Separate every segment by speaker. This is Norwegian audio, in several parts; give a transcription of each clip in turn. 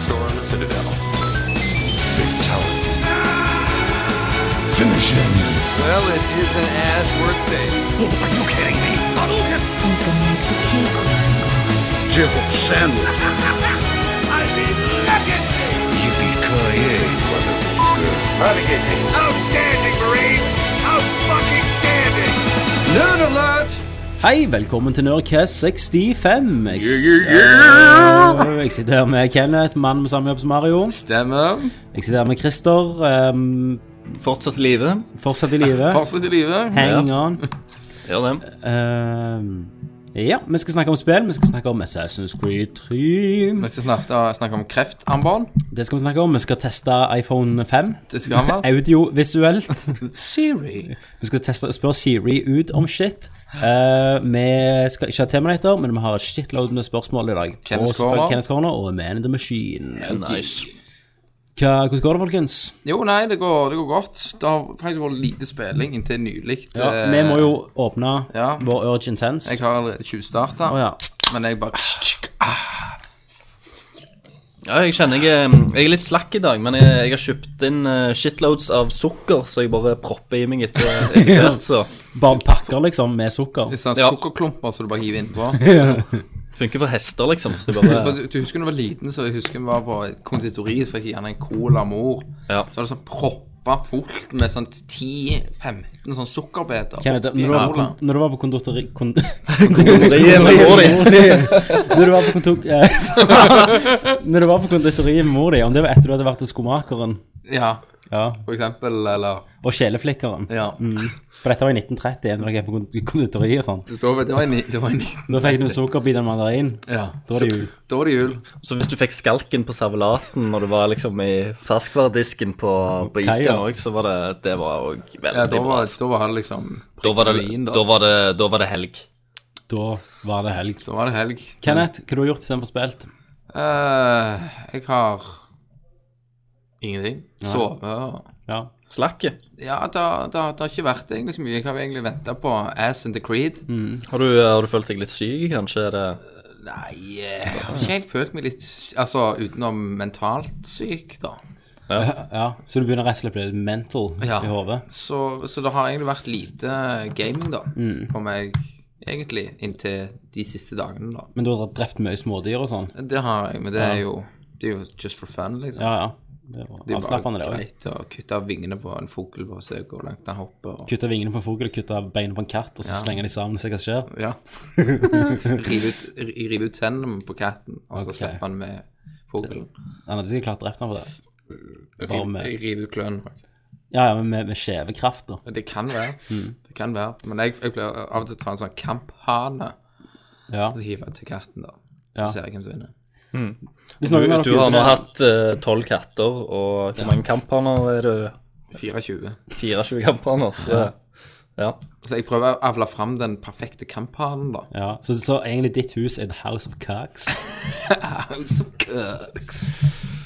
Speaker 1: Citadel. Fatality.
Speaker 2: Finish him.
Speaker 3: Well, it isn't as worth saving.
Speaker 4: Who's gonna make the cake?
Speaker 2: Yippee-ki-yay, motherfucker.
Speaker 5: Outstanding, Marine! Out fucking standing!
Speaker 2: Nerd alert!
Speaker 6: Hei, velkommen til Nerdcast 65. Jeg, Eh, jeg sitter her med Kenneth, mann med samme jobb som Mario.
Speaker 1: Stemmer.
Speaker 6: Jeg sitter her med Christer, ehm,
Speaker 7: Fortsatt i live.
Speaker 6: fortsatt i live.
Speaker 1: Fortsett i live.
Speaker 6: Hang on.
Speaker 7: Gjør det.
Speaker 6: Ehm, ja, vi skal snakke om spill. Vi skal snakke om Assassin's Creed 3.
Speaker 1: Vi skal snakke, snakke om kreftarmbånd.
Speaker 6: Det skal vi snakke om. Vi skal teste iPhone 5
Speaker 1: Det skal han være.
Speaker 6: audiovisuelt.
Speaker 1: Siri.
Speaker 6: Vi skal teste, spørre Siri ut om shit. Eh, vi skal ikke ha Terminator, men vi har et shitload med spørsmål i dag.
Speaker 1: Kenneth
Speaker 6: og selvfølgelig
Speaker 1: Corner.
Speaker 6: Kenneth Corner og Man in the Machine.
Speaker 7: Nice.
Speaker 6: Hva, hvordan går det, folkens?
Speaker 1: Jo, nei, det går, det går godt. Det har faktisk vært lite spilling inntil nylig.
Speaker 6: Ja,
Speaker 1: Eh,
Speaker 6: vi må jo åpne
Speaker 1: ja.
Speaker 6: vår Urgent Tense.
Speaker 1: Jeg har allerede tjuvstarta,
Speaker 6: Å, ja.
Speaker 1: men jeg bare
Speaker 7: Ja, jeg kjenner jeg, er- jeg er litt slakk i dag, men jeg, jeg har kjøpt inn eh, shitloads av sukker, så jeg bare propper i meg etter etter hvert, så
Speaker 6: Bare pakker, liksom, med sukker.
Speaker 1: Litt sånn
Speaker 7: Ja.
Speaker 1: sukkerklumper som du bare hiver innpå.
Speaker 7: funker for hester, liksom. Så jeg
Speaker 1: For
Speaker 7: bare
Speaker 1: du, du husker da du var liten, så jeg husker vi var på et konditori, så fikk jeg gjerne en cola mor.
Speaker 7: Ja.
Speaker 1: Så var det sånn proppa fullt med sånn 10-15 sånn sukkerbiter.
Speaker 6: Kenneth,
Speaker 1: oppi
Speaker 6: når du var på,
Speaker 1: cola.
Speaker 6: kon- når du var på konditori... Kon
Speaker 7: Konditoriet med mor di.
Speaker 6: Når du var på kontor... eh, Når du var på konditoriet med mor di, om det var etter du hadde vært hos skomakeren
Speaker 1: Ja,
Speaker 6: ja,
Speaker 1: for eksempel, eller
Speaker 6: og sjeleflikkeren
Speaker 1: Ja.
Speaker 6: Mm. For dette var i 1931, når jeg er på kond- konditori og sånn.
Speaker 1: Det står- det var i ni- det var i ni-
Speaker 6: Da fikk du en sukkerbit og en mandarin.
Speaker 1: Ja.
Speaker 6: Da var det jul.
Speaker 1: Da var det jul.
Speaker 7: Så hvis du fikk skalken på servelaten når du var liksom i ferskvaredisken på, på
Speaker 6: Kaia.
Speaker 7: Iken òg, så var det Det var òg
Speaker 1: Ja,
Speaker 7: veldig
Speaker 1: da
Speaker 7: bra.
Speaker 1: var,
Speaker 7: altså.
Speaker 1: da var det liksom
Speaker 7: Da var det,
Speaker 1: vin, da.
Speaker 7: da var det, da var det helg.
Speaker 6: Da var det helg.
Speaker 1: Da var det helg.
Speaker 6: Kenneth, hva har du gjort istedenfor spilt?
Speaker 1: Eh, jeg har ingenting. Sovet og
Speaker 6: Ja.
Speaker 7: Slakket.
Speaker 1: Ja, det, har- det, har- det har ikke vært egentlig så mye. Jeg har jo egentlig venta på Ass and the Creed.
Speaker 7: Har du, har du følt deg litt syk, kanskje? Er det
Speaker 1: Nei, eh, jeg har ikke helt følt meg litt Altså utenom mentalt syk, da.
Speaker 6: ja. Så du begynner rett og slett å bli mental
Speaker 1: Ja.
Speaker 6: i hodet?
Speaker 1: Så, så det har egentlig vært lite gaming, da,
Speaker 7: Mm.
Speaker 1: for meg egentlig inntil de siste dagene, da.
Speaker 6: Men du har drept mye smådyr og sånn?
Speaker 1: Det har jeg, men det er jo Det er jo just for fun, liksom.
Speaker 6: Ja, ja. Det var
Speaker 1: Det er
Speaker 6: Avslappende,
Speaker 1: bare
Speaker 6: det òg.
Speaker 1: greit å kutte av vingene på en fugl og se hvor langt den hopper. Og...
Speaker 6: Kutte vingene på en fugl, kutte beina på en katt, og så slenger de sammen og ser hva som skjer.
Speaker 1: Ja. rive, ut, ri- rive ut tennene på katten, og så
Speaker 6: Ok.
Speaker 1: slippe den med fuglen.
Speaker 6: Han hadde sikkert klart å drepe ham for det. Bare
Speaker 1: Rive,
Speaker 6: med-
Speaker 1: rive ut klørne.
Speaker 6: Ja, ja, men med, med skjeve kraft, da.
Speaker 1: Det kan være.
Speaker 6: Mm.
Speaker 1: Det kan være. Men jeg, jeg pleier av og til å ta en sånn kamphane
Speaker 6: Ja.
Speaker 1: og så hive den til katten, da. Så
Speaker 6: Ja.
Speaker 1: ser jeg hvem som vinner.
Speaker 6: Hvis
Speaker 7: Du,
Speaker 6: noen av
Speaker 7: du
Speaker 6: dere
Speaker 7: har
Speaker 6: ute
Speaker 7: nå
Speaker 6: der-
Speaker 7: hatt eh, tolv katter, og hvor mange kamphaner er du?
Speaker 1: 24.
Speaker 7: 24 kamphaner, så ja.
Speaker 1: Så Altså, jeg prøver å avle fram den perfekte kamphanen, da.
Speaker 6: ja. Så, så egentlig ditt hus er The House of Cocks.
Speaker 1: Så køks.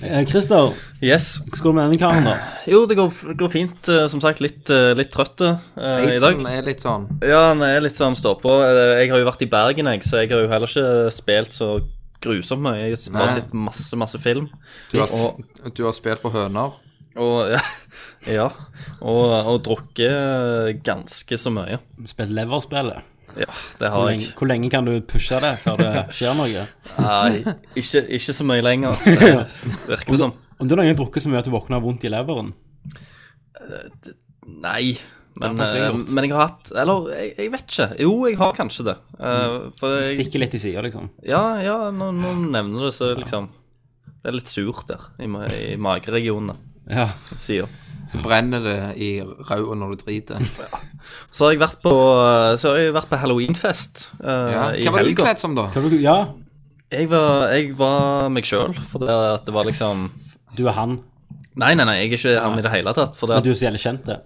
Speaker 6: Eh, Christer,
Speaker 7: Yes.
Speaker 6: hvordan går det med denne karen, da?
Speaker 7: Jo, det går, går fint. eh, Som sagt, litt, eh, litt trøtt eh, i dag.
Speaker 1: Aidsen er litt sånn
Speaker 7: Ja, han er litt sånn ståpå. Eh, Jeg har jo vært i Bergen, jeg, så jeg har jo heller ikke spilt så grusomt mye. Jeg har
Speaker 1: Nei.
Speaker 7: bare sett masse, masse film.
Speaker 1: Du har,
Speaker 7: Og,
Speaker 1: du har spilt på høner.
Speaker 7: og ja. Og, og drukket eh, ganske så mye.
Speaker 6: Spilt leverspillet.
Speaker 7: Ja,
Speaker 6: Hvor
Speaker 7: det har jeg.
Speaker 6: lenge, hvor lenge kan du pushe det før det skjer noe?
Speaker 7: Nei, ikke, ikke så mye lenger. Det virker det som.
Speaker 6: Om du noen gang har drukket så mye at du våkner av vondt i leveren
Speaker 7: Nei. Men,
Speaker 6: Det er
Speaker 7: eh,
Speaker 6: sikkert.
Speaker 7: men jeg har hatt Eller, jeg, jeg vet ikke. Jo, jeg har kanskje det. Eh, For jeg,
Speaker 6: Stikker litt i sida, liksom.
Speaker 7: Ja, ja, når noen nevner det, så liksom Det er litt surt der, i, ma- i mageregionene,
Speaker 6: Ja.
Speaker 7: sier
Speaker 1: Så brenner det i ræva når du driter.
Speaker 7: Så har jeg vært på, så har jeg vært på halloweenfest eh,
Speaker 1: Ja.
Speaker 7: i
Speaker 1: Hva var du
Speaker 7: helga.
Speaker 1: utkledd som, da?
Speaker 6: Hva vil du- ja,
Speaker 7: Jeg var, jeg var meg sjøl, for det, at det var liksom
Speaker 6: du er han,
Speaker 7: Nei, nei, nei, jeg er ikke han i det hele tatt. For det
Speaker 6: men
Speaker 7: at,
Speaker 6: du er så jævlig kjent, det.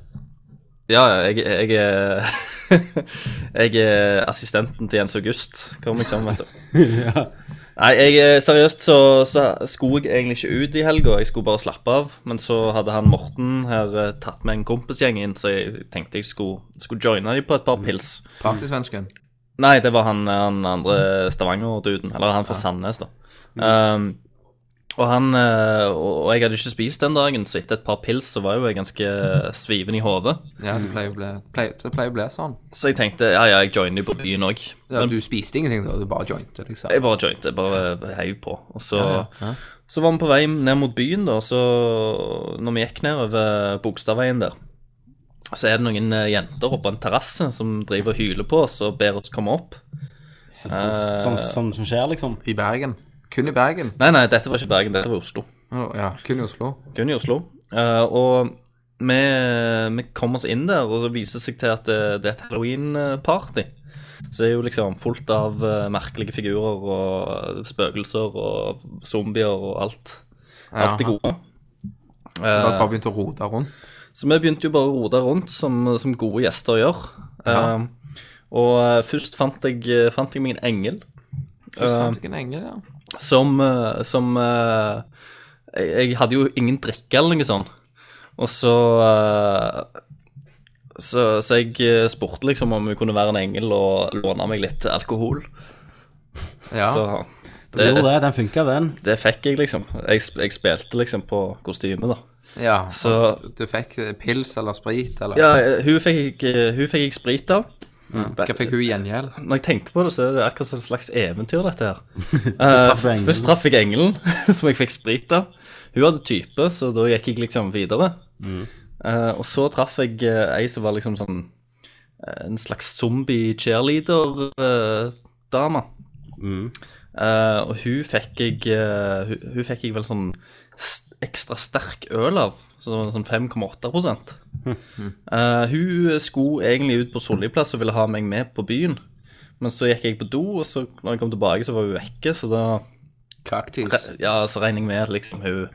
Speaker 7: ja, ja, jeg, jeg er Jeg er assistenten til Jens August, kom jeg sammen, vet du. Nei, jeg, eh, seriøst så, så skulle jeg egentlig ikke ut i helga, jeg skulle bare slappe av. Men så hadde han Morten her eh, tatt med en kompisgjeng inn, så jeg tenkte jeg skulle, skulle joine dem på et par pils.
Speaker 1: Partysvensken.
Speaker 7: Nei, det var han, han andre Stavanger-duden, eller han fra Sandnes, da. Um, Og, han, eh, og og jeg hadde ikke spist den dagen, så etter et par pils så var jo jeg ganske sviven i hodet.
Speaker 1: Ja, det pleier å bli, pleier, det pleier å bli sånn.
Speaker 7: Så jeg tenkte ja, ja, jeg joiner jo på byen òg.
Speaker 1: Ja, du spiste ingenting da, du bare jointe, liksom.
Speaker 7: Jeg bare jointe, bare heiv på. Og så, så var vi på vei ned mot byen, da, og så når vi gikk ned over Bogstadveien der, så er det noen eh, jenter oppe på en terrasse som driver og hyler på oss og ber oss komme opp.
Speaker 6: Sånn sånn- sånn som skjer, liksom.
Speaker 1: I Bergen. Kun i Bergen.
Speaker 7: Nei, nei, dette var ikke Bergen, dette var Oslo.
Speaker 1: Å, Ja, kun i Oslo.
Speaker 7: Kun i Oslo. Eh, og vi, vi kom oss inn der, og det viser seg til at det, det er et halloween-party. Så det er jo liksom fullt av eh, merkelige figurer og spøkelser og zombier og alt. Alt det
Speaker 1: Jaha.
Speaker 7: gode.
Speaker 1: Du har
Speaker 7: Eh,
Speaker 1: bare begynt å rote rundt.
Speaker 7: Så vi begynte jo bare å rote rundt, som, som gode gjester gjør.
Speaker 1: Ja.
Speaker 7: Eh, og eh, først fant jeg, fant jeg meg en engel eh,
Speaker 1: Først fant du ikke en engel, ja.
Speaker 7: som, eh, som eh, jeg, jeg hadde jo ingen drikke eller noe sånt. Og så eh, så, så jeg eh, spurte liksom om hun kunne være en engel og låne meg litt alkohol.
Speaker 1: ja.
Speaker 7: Så
Speaker 6: Jo,
Speaker 7: det,
Speaker 6: det, den funka, den.
Speaker 7: det fikk jeg, liksom. Jeg, sp- jeg spilte liksom på kostyme, da.
Speaker 1: Ja, så
Speaker 7: Så
Speaker 1: du fikk eh, pils eller sprit, eller
Speaker 7: ja, eh, hun fikk, jeg- hun fikk jeg sprit av.
Speaker 1: Mm. hva fikk hun i gjengjeld?
Speaker 7: Når jeg tenker på det, så er det akkurat som et slags eventyr, dette her. Eh,
Speaker 6: traff du engelen.
Speaker 7: først traff jeg engelen, som jeg fikk sprit av. Hun hadde type, så da gikk jeg liksom videre. Eh, og så traff jeg eh, ei som var liksom sånn eh, En slags zombie-cheerleader-dame. Eh, og hun fikk jeg eh, hun, hun fikk jeg vel sånn s- ekstra sterk øl av, så, sånn 5,8 Eh, Hun skulle egentlig ut på Solliplass og ville ha meg med på byen. Men så gikk jeg på do, og så når jeg kom tilbake, så var hun vekke. Så da
Speaker 1: Kaktis.
Speaker 7: ja, så regner jeg med at liksom hun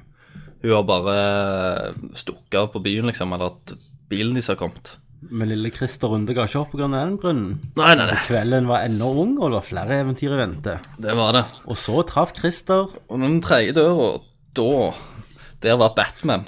Speaker 7: Hun har bare stukket av på byen, liksom, eller at bilen deres har kommet.
Speaker 6: Men lille Christer Runde ga ikke opp pga. den grunnen.
Speaker 7: Nei, nei, nei,
Speaker 6: Kvelden var ennå ung, og det var flere eventyr i vente.
Speaker 7: det var det.
Speaker 6: Og så traff Christer
Speaker 7: Og den tredje døra, da Der var Batman.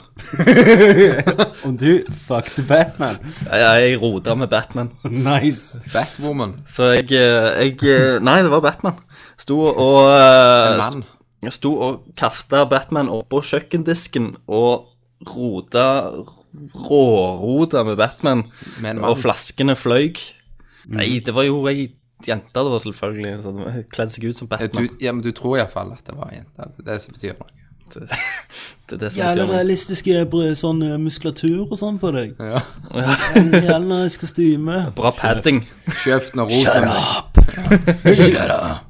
Speaker 6: Og du fucked Batman.
Speaker 7: Jeg, jeg rota med Batman.
Speaker 6: Nice.
Speaker 1: Batwoman.
Speaker 7: Så jeg, eh, jeg Nei, det var Batman. Sto og
Speaker 1: En
Speaker 7: eh,
Speaker 1: mann.
Speaker 7: Jeg sto og kasta Batman oppå kjøkkendisken og rota Rårota med Batman,
Speaker 1: Med en mann.
Speaker 7: og flaskene fløy.
Speaker 6: Mm.
Speaker 7: Nei, det var jo ei jente, det var selvfølgelig. Så det var- Kledde seg ut som
Speaker 1: Ja,
Speaker 7: Batman.
Speaker 1: Eh, du, ja, men du tror iallfall at det var en jente. Det er det som betyr noe.
Speaker 7: Det er det som
Speaker 6: Jævla
Speaker 7: betyr noe.
Speaker 6: realistiske br- sånn eh, muskulatur og sånn på deg.
Speaker 1: Ja.
Speaker 6: En Jævla nice kostyme.
Speaker 7: Bra padding.
Speaker 1: Kjøften og roten. Shut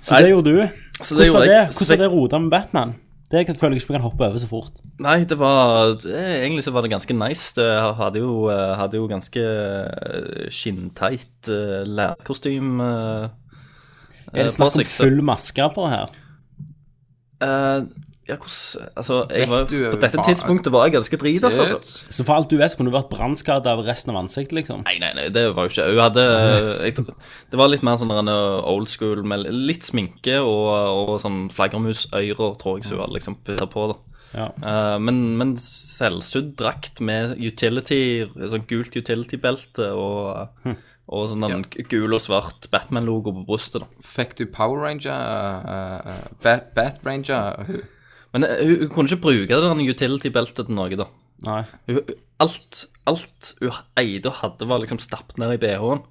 Speaker 6: Så det gjorde du.
Speaker 7: Så det
Speaker 6: Hvordan var
Speaker 7: gjorde
Speaker 6: det,
Speaker 7: jeg. Så
Speaker 6: Hvordan var
Speaker 7: fikk-
Speaker 6: det rota med Batman? Det kan- føler jeg ikke vi kan hoppe over så fort.
Speaker 7: Nei, det var det, Egentlig så var det ganske nice. Det hadde jo, eh, hadde jo ganske eh, skinnteit eh, lærkostyme eh,
Speaker 6: Er
Speaker 7: eh,
Speaker 6: det snakk
Speaker 7: på
Speaker 6: om
Speaker 7: seg, så-
Speaker 6: full maske på her?
Speaker 7: Eh, ja, hvordan Altså, jeg
Speaker 1: Vet
Speaker 7: var,
Speaker 1: du,
Speaker 7: på dette
Speaker 1: faen.
Speaker 7: tidspunktet var jeg ganske dritas, altså.
Speaker 1: up.
Speaker 6: Så for alt du vet, kunne du vært brannskadet av resten av ansiktet, liksom.
Speaker 7: Nei, nei, nei, det var jo ikke Hun hadde jeg, tror- Det var litt mer sånn der en old school med litt sminke og, og sånn flaggermusøyre, tror jeg, så hun
Speaker 1: Mm.
Speaker 7: hadde liksom putta på, da.
Speaker 6: Ja.
Speaker 7: Eh, men, men selvsydd drakt med utility, sånn gult utility-belte og,
Speaker 1: Hm.
Speaker 7: og sånn en gul og svart Batman-logo på brystet, da.
Speaker 1: Fikk du Power Ranger? eh, eh, Bat, Bat Ranger? Hun-
Speaker 7: Men eh, hun, hun kunne ikke bruke det der utility-beltet til noe, da.
Speaker 6: Nei.
Speaker 7: Hun- Alt, alt hun eide og hadde, var liksom stappet ned i BH-en.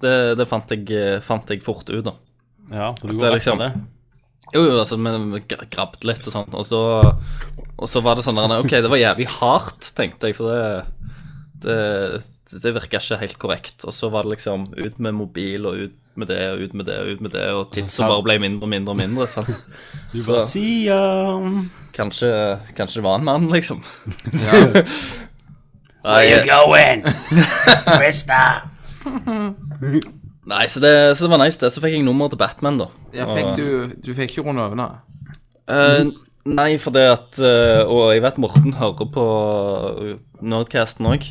Speaker 7: Det, det fant, jeg, fant jeg fort ut, da.
Speaker 6: Ja, for du
Speaker 7: Det er
Speaker 6: går rett
Speaker 7: liksom-
Speaker 6: for det.
Speaker 7: Jo, jo, altså, vi gra- grabbet litt og sånn, og så, og så var det sånn der, OK, det var jævlig hardt, tenkte jeg, for det, det, det virka ikke helt korrekt. Og så var det liksom ut med mobil og ut med det og ut med det og ut med det, og tidsa bare ble mindre og mindre og mindre. Sant?
Speaker 6: Du
Speaker 7: Så-
Speaker 6: bare sier
Speaker 7: Kanskje, kanskje det var en mann, liksom.
Speaker 1: Ja.
Speaker 7: Nei, jeg-
Speaker 6: going? Christer!
Speaker 7: nei så, det, så det var nice, det. Så fikk jeg nummer til Batman, da.
Speaker 1: ja fikk du, du fikk ikke runde øynene?
Speaker 7: Eh,
Speaker 1: Mm.
Speaker 7: nei, for det at eh, Og jeg vet Morten hører på Nerdcasten òg.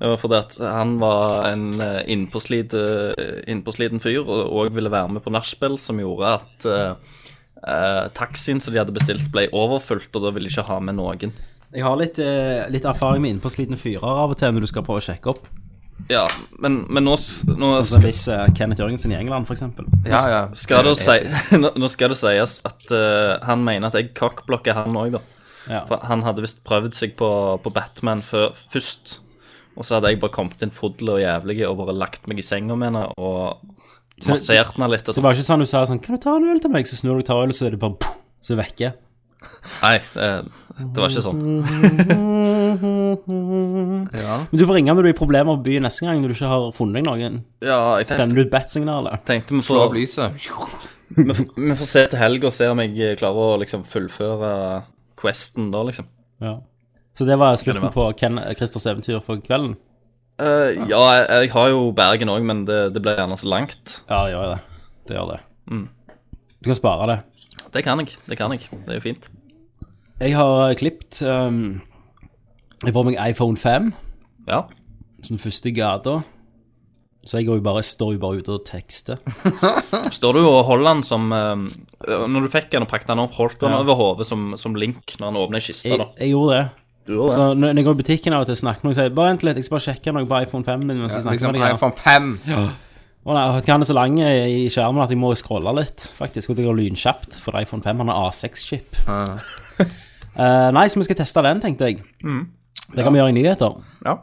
Speaker 7: For det at han var en eh, innpåslid, eh, innpåsliten fyr og og ville være med på nachspiel, som gjorde at eh, eh, taxien som de hadde bestilt, ble overfylt, og da ville de ikke ha med noen.
Speaker 6: Jeg har litt, eh, litt erfaring med innpåslitne fyrer av og til når du skal prøve å sjekke opp.
Speaker 7: Ja, men, men nå, s- nå
Speaker 6: Altså
Speaker 7: skal,
Speaker 6: hvis eh, Kenneth Jørgensen i England, f.eks.
Speaker 1: Ja, ja.
Speaker 7: skal det
Speaker 1: Eh,
Speaker 7: si, nå nå skal det sies at eh, han mener at jeg cockblocker han òg, da.
Speaker 6: Ja.
Speaker 7: For han hadde visst prøvd seg på, på Batman før, først. Og så hadde jeg bare kommet inn full og jævlig og bare lagt meg i senga med henne og massert henne litt. Og
Speaker 6: Det
Speaker 7: sånn.
Speaker 6: var ikke sånn du sa sånn Kan du ta en øl til meg? Så snur du og tar øl, så er det bare pff, Så er det vekke.
Speaker 7: Nei, det, det var ikke sånn. Ja,
Speaker 6: Men du får ringe når du er i problemer på byen neste gang når du ikke har funnet deg noen.
Speaker 7: ja jeg tenkte,
Speaker 6: Sender du ut bat-signalet?
Speaker 7: tenkte vi,
Speaker 1: Slå av
Speaker 7: får,
Speaker 1: Eh, lyset.
Speaker 7: vi, får- vi får se til helg og se om jeg klarer å liksom fullføre questen da, liksom.
Speaker 6: Ja. Så det var
Speaker 7: Kan
Speaker 6: slutten
Speaker 7: det
Speaker 6: på Ken eh, Christers eventyr for kvelden?
Speaker 7: Eh, ja, jeg, jeg har jo Bergen òg, men det, det blir gjerne så langt.
Speaker 6: Ja, det gjør det. Det gjør det. Mm. Du kan spare det.
Speaker 7: Det kan jeg. Det kan jeg. Det er jo fint.
Speaker 6: Jeg har klippt um, Jeg får meg iPhone 5
Speaker 7: Ja.
Speaker 6: som første i gata. Så jeg går jo bare, står jo bare ute og tekster.
Speaker 7: Står du og holder den som eh, Når du fikk den og pakket den opp, holdt du den over hodet som, som Link når han åpner kista,
Speaker 6: Jeg,
Speaker 7: da?
Speaker 6: jeg gjorde det.
Speaker 7: Du gjorde det.
Speaker 6: Så når når jeg går i butikken av og til og snakker med noen, sier jeg bare vent litt, jeg skal bare sjekke noe på iPhone 5 min mens jeg snakker
Speaker 1: Liksom
Speaker 6: med deg. her.»
Speaker 1: iPhone 5.
Speaker 6: Å nei, jeg kan det så lang i i skjermen at jeg må scrolle litt, faktisk. Og det går lynkjapt, for iPhone 5 han har A6-chip.
Speaker 1: Ah.
Speaker 6: nei, så vi skal teste den, tenkte jeg. Det kan vi gjøre i nyheter.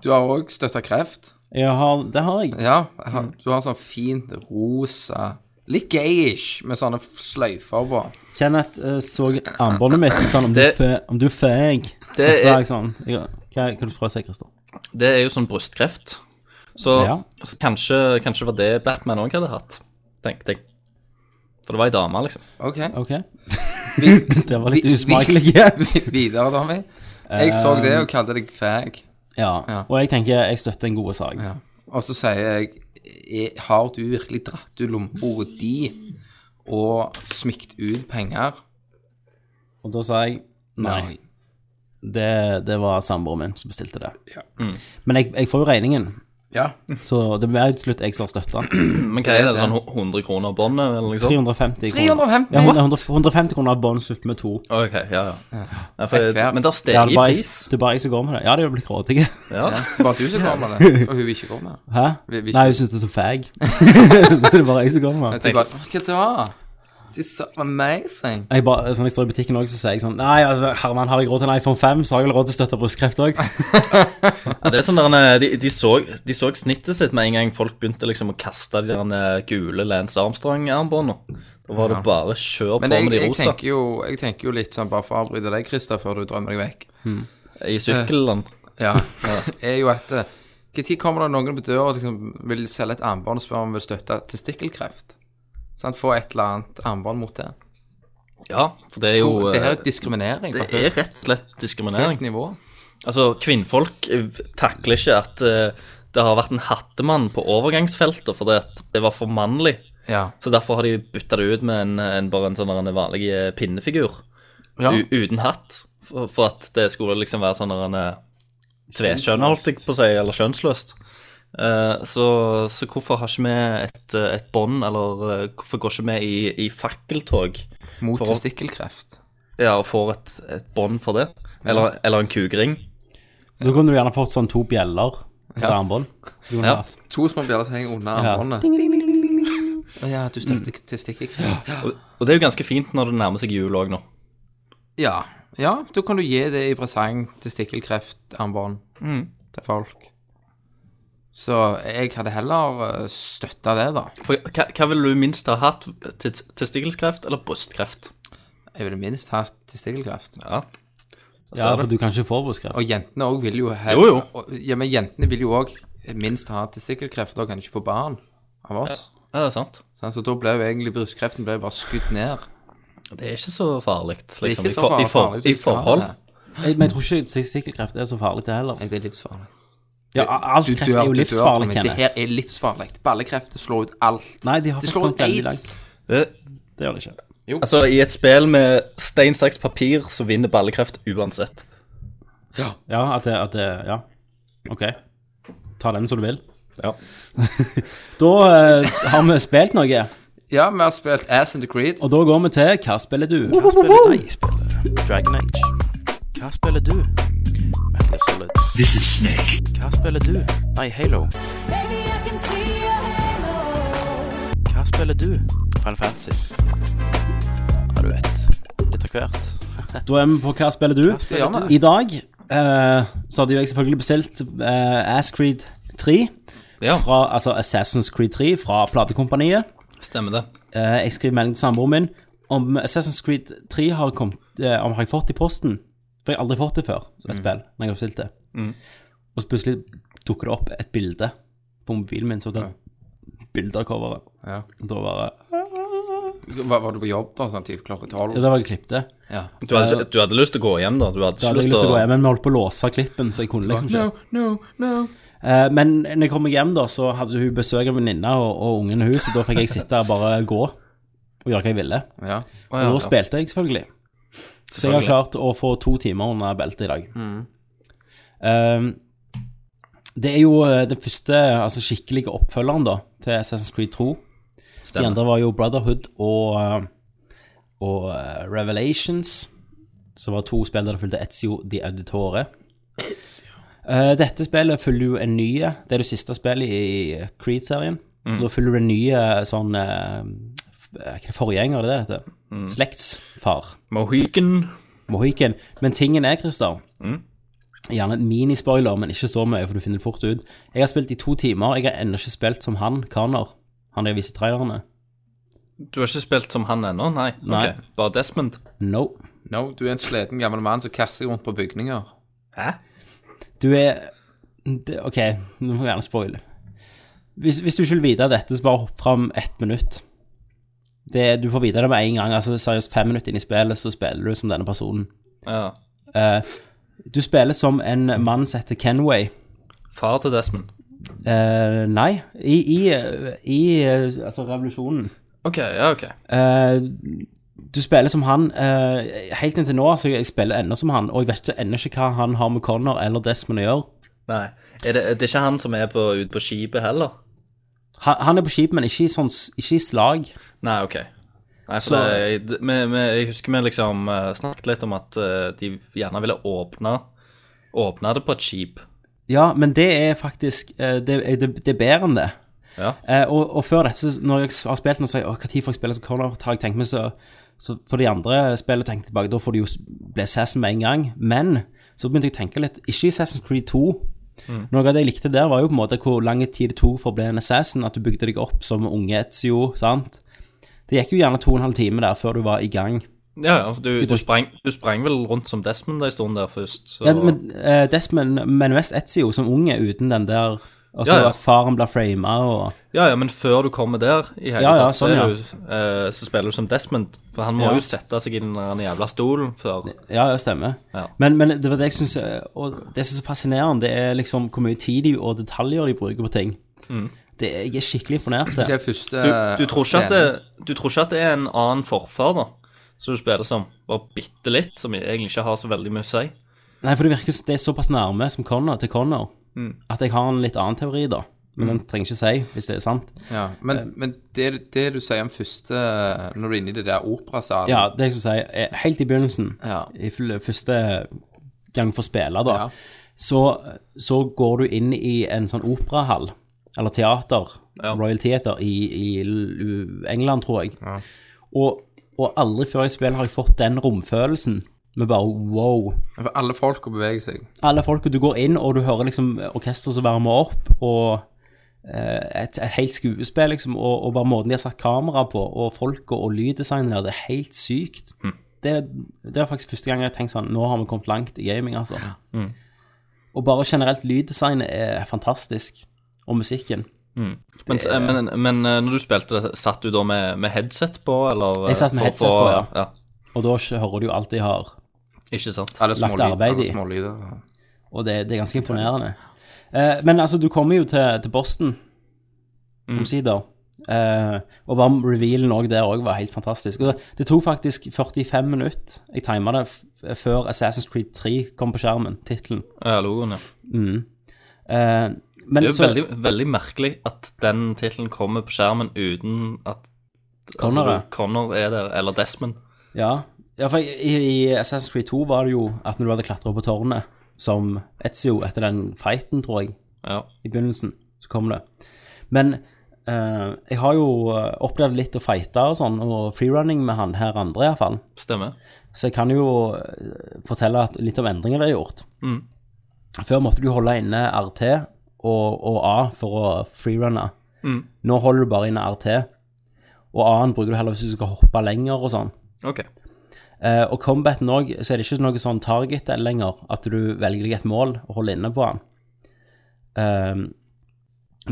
Speaker 1: Du har òg støtta kreft.
Speaker 6: Jeg har, det har jeg.
Speaker 1: Ja. jeg har- Du har sånn fint rosa Litt gayish med sånne f- sløyfer på.
Speaker 6: Kenneth eh, så armbåndet mitt sånn om,
Speaker 7: Det-
Speaker 6: du, fe, om du er feg. Og
Speaker 7: Det
Speaker 6: så sa
Speaker 7: er-
Speaker 6: jeg sånn jeg, hva, Kan du prøve å si, Christer?
Speaker 7: Det er jo sånn brystkreft. Så,
Speaker 6: Ja.
Speaker 7: så kanskje, kanskje det var det Batman òg hadde hatt, tenkte jeg. For det var ei dame, liksom.
Speaker 1: OK.
Speaker 6: OK?
Speaker 1: Vi,
Speaker 6: Det var litt
Speaker 1: vi- vi-
Speaker 6: usmakelig.
Speaker 1: vi- Videre, Tommy. Jeg så det og kalte deg fag.
Speaker 6: Ja.
Speaker 1: Ja.
Speaker 6: Og jeg tenker jeg støtter en god sak.
Speaker 1: Ja. Og så sier jeg "E- Har du virkelig dratt ut lommeboka di og smykt ut penger?
Speaker 6: Og da sa jeg Nei. Det, det var samboeren min som bestilte det.
Speaker 1: Ja.
Speaker 6: Men jeg, jeg får jo regningen,
Speaker 1: Ja.
Speaker 6: så det blir til slutt jeg som har støtta.
Speaker 7: Men hva er det,
Speaker 1: det.
Speaker 7: sånn 100 kroner båndet, eller noe sånt?
Speaker 6: 350 kroner.
Speaker 1: 350?
Speaker 6: Ja, 100, 150 kroner av bånd slutt med to.
Speaker 7: Ok, ja, ja. Nei, for,
Speaker 1: Ett hver.
Speaker 7: men der
Speaker 6: Det er,
Speaker 7: steg i
Speaker 6: bare, jeg-
Speaker 7: pris.
Speaker 6: det er bare jeg som går med det. Ja, det er jo blitt grådige.
Speaker 7: Ja.
Speaker 1: Ja, Bare du som kommer med det, og hun vil ikke komme.
Speaker 6: Hæ?
Speaker 1: Vi- vi-
Speaker 6: Nei, hun syns det er så fag. det er bare jeg som går med det.
Speaker 1: Jeg tenker bare, Hva da? This is so amazing.
Speaker 6: Jeg bare, sånn jeg står i butikken også, så sier jeg sånn Nei, altså, Herman, har jeg råd til en iPhone 5, så har jeg vel råd til å støtte brystkreft òg.
Speaker 7: Ja, det er sånn der, eh, de, de, så, de så snittet sitt med en gang folk begynte liksom å kaste de der eh, gule Lance Armstrong-armbåndene. Da var det bare kjør på
Speaker 1: Men jeg,
Speaker 7: med de
Speaker 1: jeg,
Speaker 7: rosa
Speaker 1: tenker jo, jeg tenker jo litt sånn, bare for å avbryte deg, Christer, før du drømmer deg vekk,
Speaker 7: i sykkelen.
Speaker 1: Ja, er jo at eh, Hva tid kommer det noen på døra og liksom vil selge et armbånd og spørre om vi vil støtte testikkelkreft? Sant, Få et eller annet armbånd mot det.
Speaker 7: Ja, for det er jo
Speaker 1: Oh, det her
Speaker 7: eh,
Speaker 1: er diskriminering på
Speaker 7: Det
Speaker 1: et
Speaker 7: er rett og slett diskriminering.
Speaker 1: høyt nivå.
Speaker 7: Altså, kvinnfolk eh, takler ikke at eh, det har vært en hattemann på overgangsfeltet fordi at det var for mannlig.
Speaker 1: Ja.
Speaker 7: Så derfor har de bytta det ut med en, en, bare en sånn der en vanlig eh, pinnefigur
Speaker 1: ja.
Speaker 7: u, uten hatt. For, for at det skulle liksom være sånn der en eh, tvekjønn, holdt jeg på å si, eller kjønnsløst. Eh, så, så hvorfor har ikke vi et, eh, et bånd, eller eh, hvorfor går ikke vi i, i fakkeltog
Speaker 1: Mot
Speaker 7: for-
Speaker 1: testikkelkreft.
Speaker 7: ja, og får et, et bånd for det? Eller, eller en kukring?
Speaker 6: Da kunne du gjerne fått sånn to bjeller på
Speaker 1: Ja.
Speaker 6: armbånd. Så du kunne
Speaker 7: Ja.
Speaker 6: hatt.
Speaker 1: To små bjeller som henger under
Speaker 6: Ja.
Speaker 1: armbåndet. Å ja, du støtter testikkelkreft. Ja.
Speaker 7: Og, og det er jo ganske fint når det nærmer seg jul òg nå.
Speaker 1: ja. Ja, da kan du gi det i presang testikkelkreftarmbånd til folk. Så jeg hadde heller eh, støtta det, da.
Speaker 7: For hva, hva ville du minst ha hatt? Til, testikkelkreft eller brystkreft?
Speaker 1: Jeg ville minst hatt testikkelkreft.
Speaker 7: Ja.
Speaker 6: Ja, for du kan ikke få brystkreft.
Speaker 1: Og jentene òg vil jo he-
Speaker 7: Jo, jo.
Speaker 1: og- Ja, men jentene vil jo òg minst ha testikkelkreft, og kan ikke få barn av oss.
Speaker 7: ja, det er sant.
Speaker 1: Sant? Så da ble jo egentlig brystkreften ble jo bare skutt ned.
Speaker 7: Det er ikke så farlig,
Speaker 1: Det er ikke
Speaker 7: liksom. I,
Speaker 1: så
Speaker 7: for, i, for,
Speaker 1: farlig som
Speaker 7: I
Speaker 1: det skal være
Speaker 7: forhold.
Speaker 1: det.
Speaker 6: Jeg, men jeg tror ikke testikkelkreft er så farlig, det heller.
Speaker 1: Nei, det er livsfarlig.
Speaker 6: Ja, alt
Speaker 1: Du
Speaker 6: kreft
Speaker 1: dør,
Speaker 6: er jo
Speaker 1: du dør,
Speaker 6: livsfarlig,
Speaker 1: Tommy. Det
Speaker 6: Kenneth.
Speaker 1: her er livsfarlig. Ballekrefter slår ut alt.
Speaker 6: Nei, de har
Speaker 1: Det
Speaker 6: faktisk
Speaker 1: slår
Speaker 6: kommet veldig
Speaker 1: AIDS.
Speaker 6: langt.
Speaker 7: Det,
Speaker 6: Det gjør det ikke.
Speaker 7: altså, i et spill med stein, saks, papir, så vinner ballekreft uansett.
Speaker 6: Ja, at det, at det Ja. OK. Ta den som du vil.
Speaker 7: Ja.
Speaker 6: Da eh, s- har vi spilt noe,
Speaker 1: Ja, vi har spilt Ass and the Creed.
Speaker 6: og da går vi til Hva spiller du?
Speaker 4: Hva spiller jeg? Spiller Dragon Age. Hva spiller du? Metal Metal Gear Solid. Hva spiller du? Nei, Halo.
Speaker 8: Maybe I can see your halo.
Speaker 4: Hva spiller du? Final Fantasy. Ja, du vet. Litt av hvert.
Speaker 6: Da er vi på Hva spiller du?
Speaker 1: Det gjør vi.
Speaker 6: I dag eh, så hadde jo jeg selvfølgelig bestilt eh, Ass Creed 3,
Speaker 7: Ja,
Speaker 6: fra, altså Assassin's Creed 3 fra platekompaniet.
Speaker 7: stemmer det.
Speaker 6: Eh, jeg skriver melding til samboeren min om Assassin's Creed 3 har, kommet, eh, om har jeg fått i posten. For jeg har aldri fått det før som et spill, når jeg har bestilt det. Og så plutselig dukker det opp et bilde på mobilen min. Så det bilde av coveret.
Speaker 1: Ja.
Speaker 6: Og Da var det
Speaker 1: Var, var du på jobb da, sånn typ klokka tolv?
Speaker 6: Ja, da var jeg klippet.
Speaker 1: Ja.
Speaker 7: Du hadde, ikke- du hadde lyst til å gå hjem, da? Eh, Du hadde
Speaker 6: Da
Speaker 7: ikke
Speaker 6: hadde jeg
Speaker 7: lyst
Speaker 6: lyst til å gå hjem,
Speaker 7: til å
Speaker 6: men vi holdt på å låse klippen, så jeg kunne liksom ikke.
Speaker 1: no, no.
Speaker 6: Eh, men når jeg kom meg hjem, da, så hadde hun besøk av venninne og, og ungen hun, så da fikk jeg sitte og bare gå og gjøre hva jeg ville.
Speaker 1: Ja.
Speaker 7: Å,
Speaker 6: Og
Speaker 7: ja,
Speaker 6: nå
Speaker 7: ja.
Speaker 6: spilte jeg, selvfølgelig. Så jeg har
Speaker 7: Selvfølgelig.
Speaker 6: klart å få to timer under beltet i dag. Ehm, det er jo eh, den første altså, skikkelige oppfølgeren da, til Assassin's Creed 2. De
Speaker 7: Stemmer.
Speaker 6: andre var jo Brotherhood og, eh, og eh, Revelations, som var to spill der det fulgte Ezio de Auditore. Eh, dette spillet følger jo en ny Det er det siste spillet i Creed-serien. Nå følger du en ny sånn eh, f- eh, Hva er det forgjenger, det er det det heter? Slektsfar.
Speaker 7: Mohican.
Speaker 6: Mohiken. Men tingen er, Christer Gjerne en minispoiler, men ikke så mye, for du finner det fort ut. Jeg har spilt i to timer. Jeg har ennå ikke spilt som han, Connor. Han jeg viser i trailerne.
Speaker 7: Du har ikke spilt som han ennå? Nei.
Speaker 6: Nei.
Speaker 7: Ok, Bare Desmond?
Speaker 6: No.
Speaker 1: No, du er en sliten gammel mann som kaster rundt på bygninger.
Speaker 7: Hæ?
Speaker 6: Du er det, OK, nå får jeg gjerne spoile. Hvis, hvis du ikke vil vite dette, så bare hopp fram ett minutt. Det, du får vite det med en gang. altså Seriøst, fem minutter inn i spillet, så spiller du som denne personen.
Speaker 7: Ja.
Speaker 6: Du spiller som en mann som heter Kenway.
Speaker 7: Far til Desmond.
Speaker 6: Eh, nei, i, i, i eh, altså revolusjonen.
Speaker 7: OK, ja, OK.
Speaker 6: Eh, du spiller som han eh, helt inntil nå. altså Jeg spiller ennå som han, og jeg vet ikke- ennå ikke hva han har med Connor eller Desmond å gjøre.
Speaker 7: Nei. Er det, er det ikke han som er på, ute på skipet heller?
Speaker 6: Han, han er på skip, men ikke i, sånn, s- ikke i slag.
Speaker 7: Nei, OK. Nei, for
Speaker 6: Så-
Speaker 7: det, jeg, det- vi, vi, jeg husker vi liksom eh, snakket litt om at eh, de gjerne ville åpne Åpne det på et skip.
Speaker 6: Ja, men det er faktisk eh, Det, er- det, det er bedre enn det.
Speaker 7: Ja.
Speaker 6: Eh, og, og før dette, så når jeg har spilt den og sier «Åh, hva tid får jeg spille som Connor, har jeg tenkt meg så, så For de andre spillene tenkte jeg tilbake, da får du jo s- bli Assassin med en gang. Men så begynte jeg å tenke litt, ikke i Assassin's Creed 2.
Speaker 7: Mm.
Speaker 6: Noe av det jeg likte der, var jo på en måte hvor lang tid det tok for å bli en assassin. At du bygde deg opp som unge Etzio, sant. Det gikk jo gjerne to og en halv time der før du var i gang.
Speaker 7: Ja, ja. Du, du, sprang, du sprang vel rundt som Desmond en stund der først, så
Speaker 6: Ja, men eh, Desmond, men mest Etzio som unge uten den der Altså
Speaker 7: Ja, ja.
Speaker 6: at faren blir frama og
Speaker 7: Ja, ja, men før du kommer der, i hele
Speaker 6: Ja, ja,
Speaker 7: tatt, så,
Speaker 6: sånn,
Speaker 7: er
Speaker 6: ja.
Speaker 7: du, eh, så spiller du som Desmond. For han må
Speaker 6: Ja.
Speaker 7: jo sette seg i den der jævla stolen før
Speaker 6: Ja, det stemmer.
Speaker 7: Ja.
Speaker 6: Men, men det var det jeg syns Og det som er så fascinerende, det er liksom hvor mye tid de- og detaljer de bruker på ting. Det, jeg er skikkelig imponert.
Speaker 1: Ikke
Speaker 6: Det.
Speaker 1: første
Speaker 7: du,
Speaker 6: Eh,
Speaker 7: du, tror ikke at det,
Speaker 1: scenen.
Speaker 7: du tror ikke at det er en annen forfar, da? Som du spiller som? Bare bitte litt, som egentlig ikke har så veldig mye å si?
Speaker 6: Nei, for det virker som det er såpass nærme som Connor til Connor at jeg har en litt annen teori, da. Men den trenger ikke si hvis det er sant.
Speaker 1: Ja, men, men det, det du sier om første Når du er inne i det der operasalen
Speaker 6: Ja, det jeg skulle si, er helt i begynnelsen,
Speaker 1: Ja.
Speaker 6: i fl- første gang for spiller, da,
Speaker 1: Ja.
Speaker 6: så, så går du inn i en sånn operahall, eller teater, Royal Theater, i, i L- England, tror jeg. Og, og aldri før i spill har jeg fått den romfølelsen med bare wow.
Speaker 1: For alle folk å bevege seg.
Speaker 6: Alle folk, og du går inn, og du hører liksom orkester som varmer opp, og eh, et, et helt skuespill, liksom, og, og bare måten de har satt kamera på, og folket og lyddesignet der, det er helt sykt. Det, det er faktisk første gang jeg har tenkt sånn, nå har vi kommet langt i gaming, altså. Og bare generelt lyddesignet er fantastisk, og musikken.
Speaker 7: Men, men, men eh, når du spilte det, satt du da med, med headset på, eller? eh,
Speaker 6: Jeg satt med
Speaker 7: for-
Speaker 6: headset
Speaker 7: for-
Speaker 6: på, ja. Og da hører du jo alt de har,
Speaker 7: Ikke sant?
Speaker 1: Alle
Speaker 6: Lagt
Speaker 1: smålyder.
Speaker 6: arbeid
Speaker 1: Alle
Speaker 6: i.
Speaker 1: smålyder.
Speaker 6: og det, det er ganske imponerende. Eh, men altså, du kommer jo til, til Boston, omsider. Eh, og bare revealen òg der òg var helt fantastisk. Og det, det tok faktisk 45 minutter. Jeg tima det f før Assassin's Creed 3 kom på skjermen, tittelen. Mm.
Speaker 7: Ja, logoen, ja.
Speaker 6: Eh, men
Speaker 7: Det er jo
Speaker 6: så
Speaker 7: veldig, veldig merkelig at den tittelen kommer på skjermen uten at
Speaker 6: Connor,
Speaker 7: altså,
Speaker 6: ja.
Speaker 7: du- Connor er der, eller Desmond.
Speaker 6: Ja, ja for i, i Assassin's Creed 2 var det jo at når du hadde klatra opp på tårnet, som Ezio etter den fighten, tror jeg,
Speaker 7: Ja.
Speaker 6: i begynnelsen. Så kom det. Men eh, jeg har jo eh, opplevd litt å fighte og sånn, og freerunning med han her andre, iallfall.
Speaker 7: Stemmer.
Speaker 6: Så jeg kan jo eh, fortelle at litt om endringer det er gjort. Før måtte du holde inne RT og, og A for å freerunne.
Speaker 7: Mm,
Speaker 6: Nå holder du bare inne RT, og A-en bruker du heller hvis du skal hoppe lenger og sånn.
Speaker 7: OK.
Speaker 6: Eh, og combaten òg, så er det ikke noe sånn target lenger, at du velger deg et mål og holder inne på den. Eh,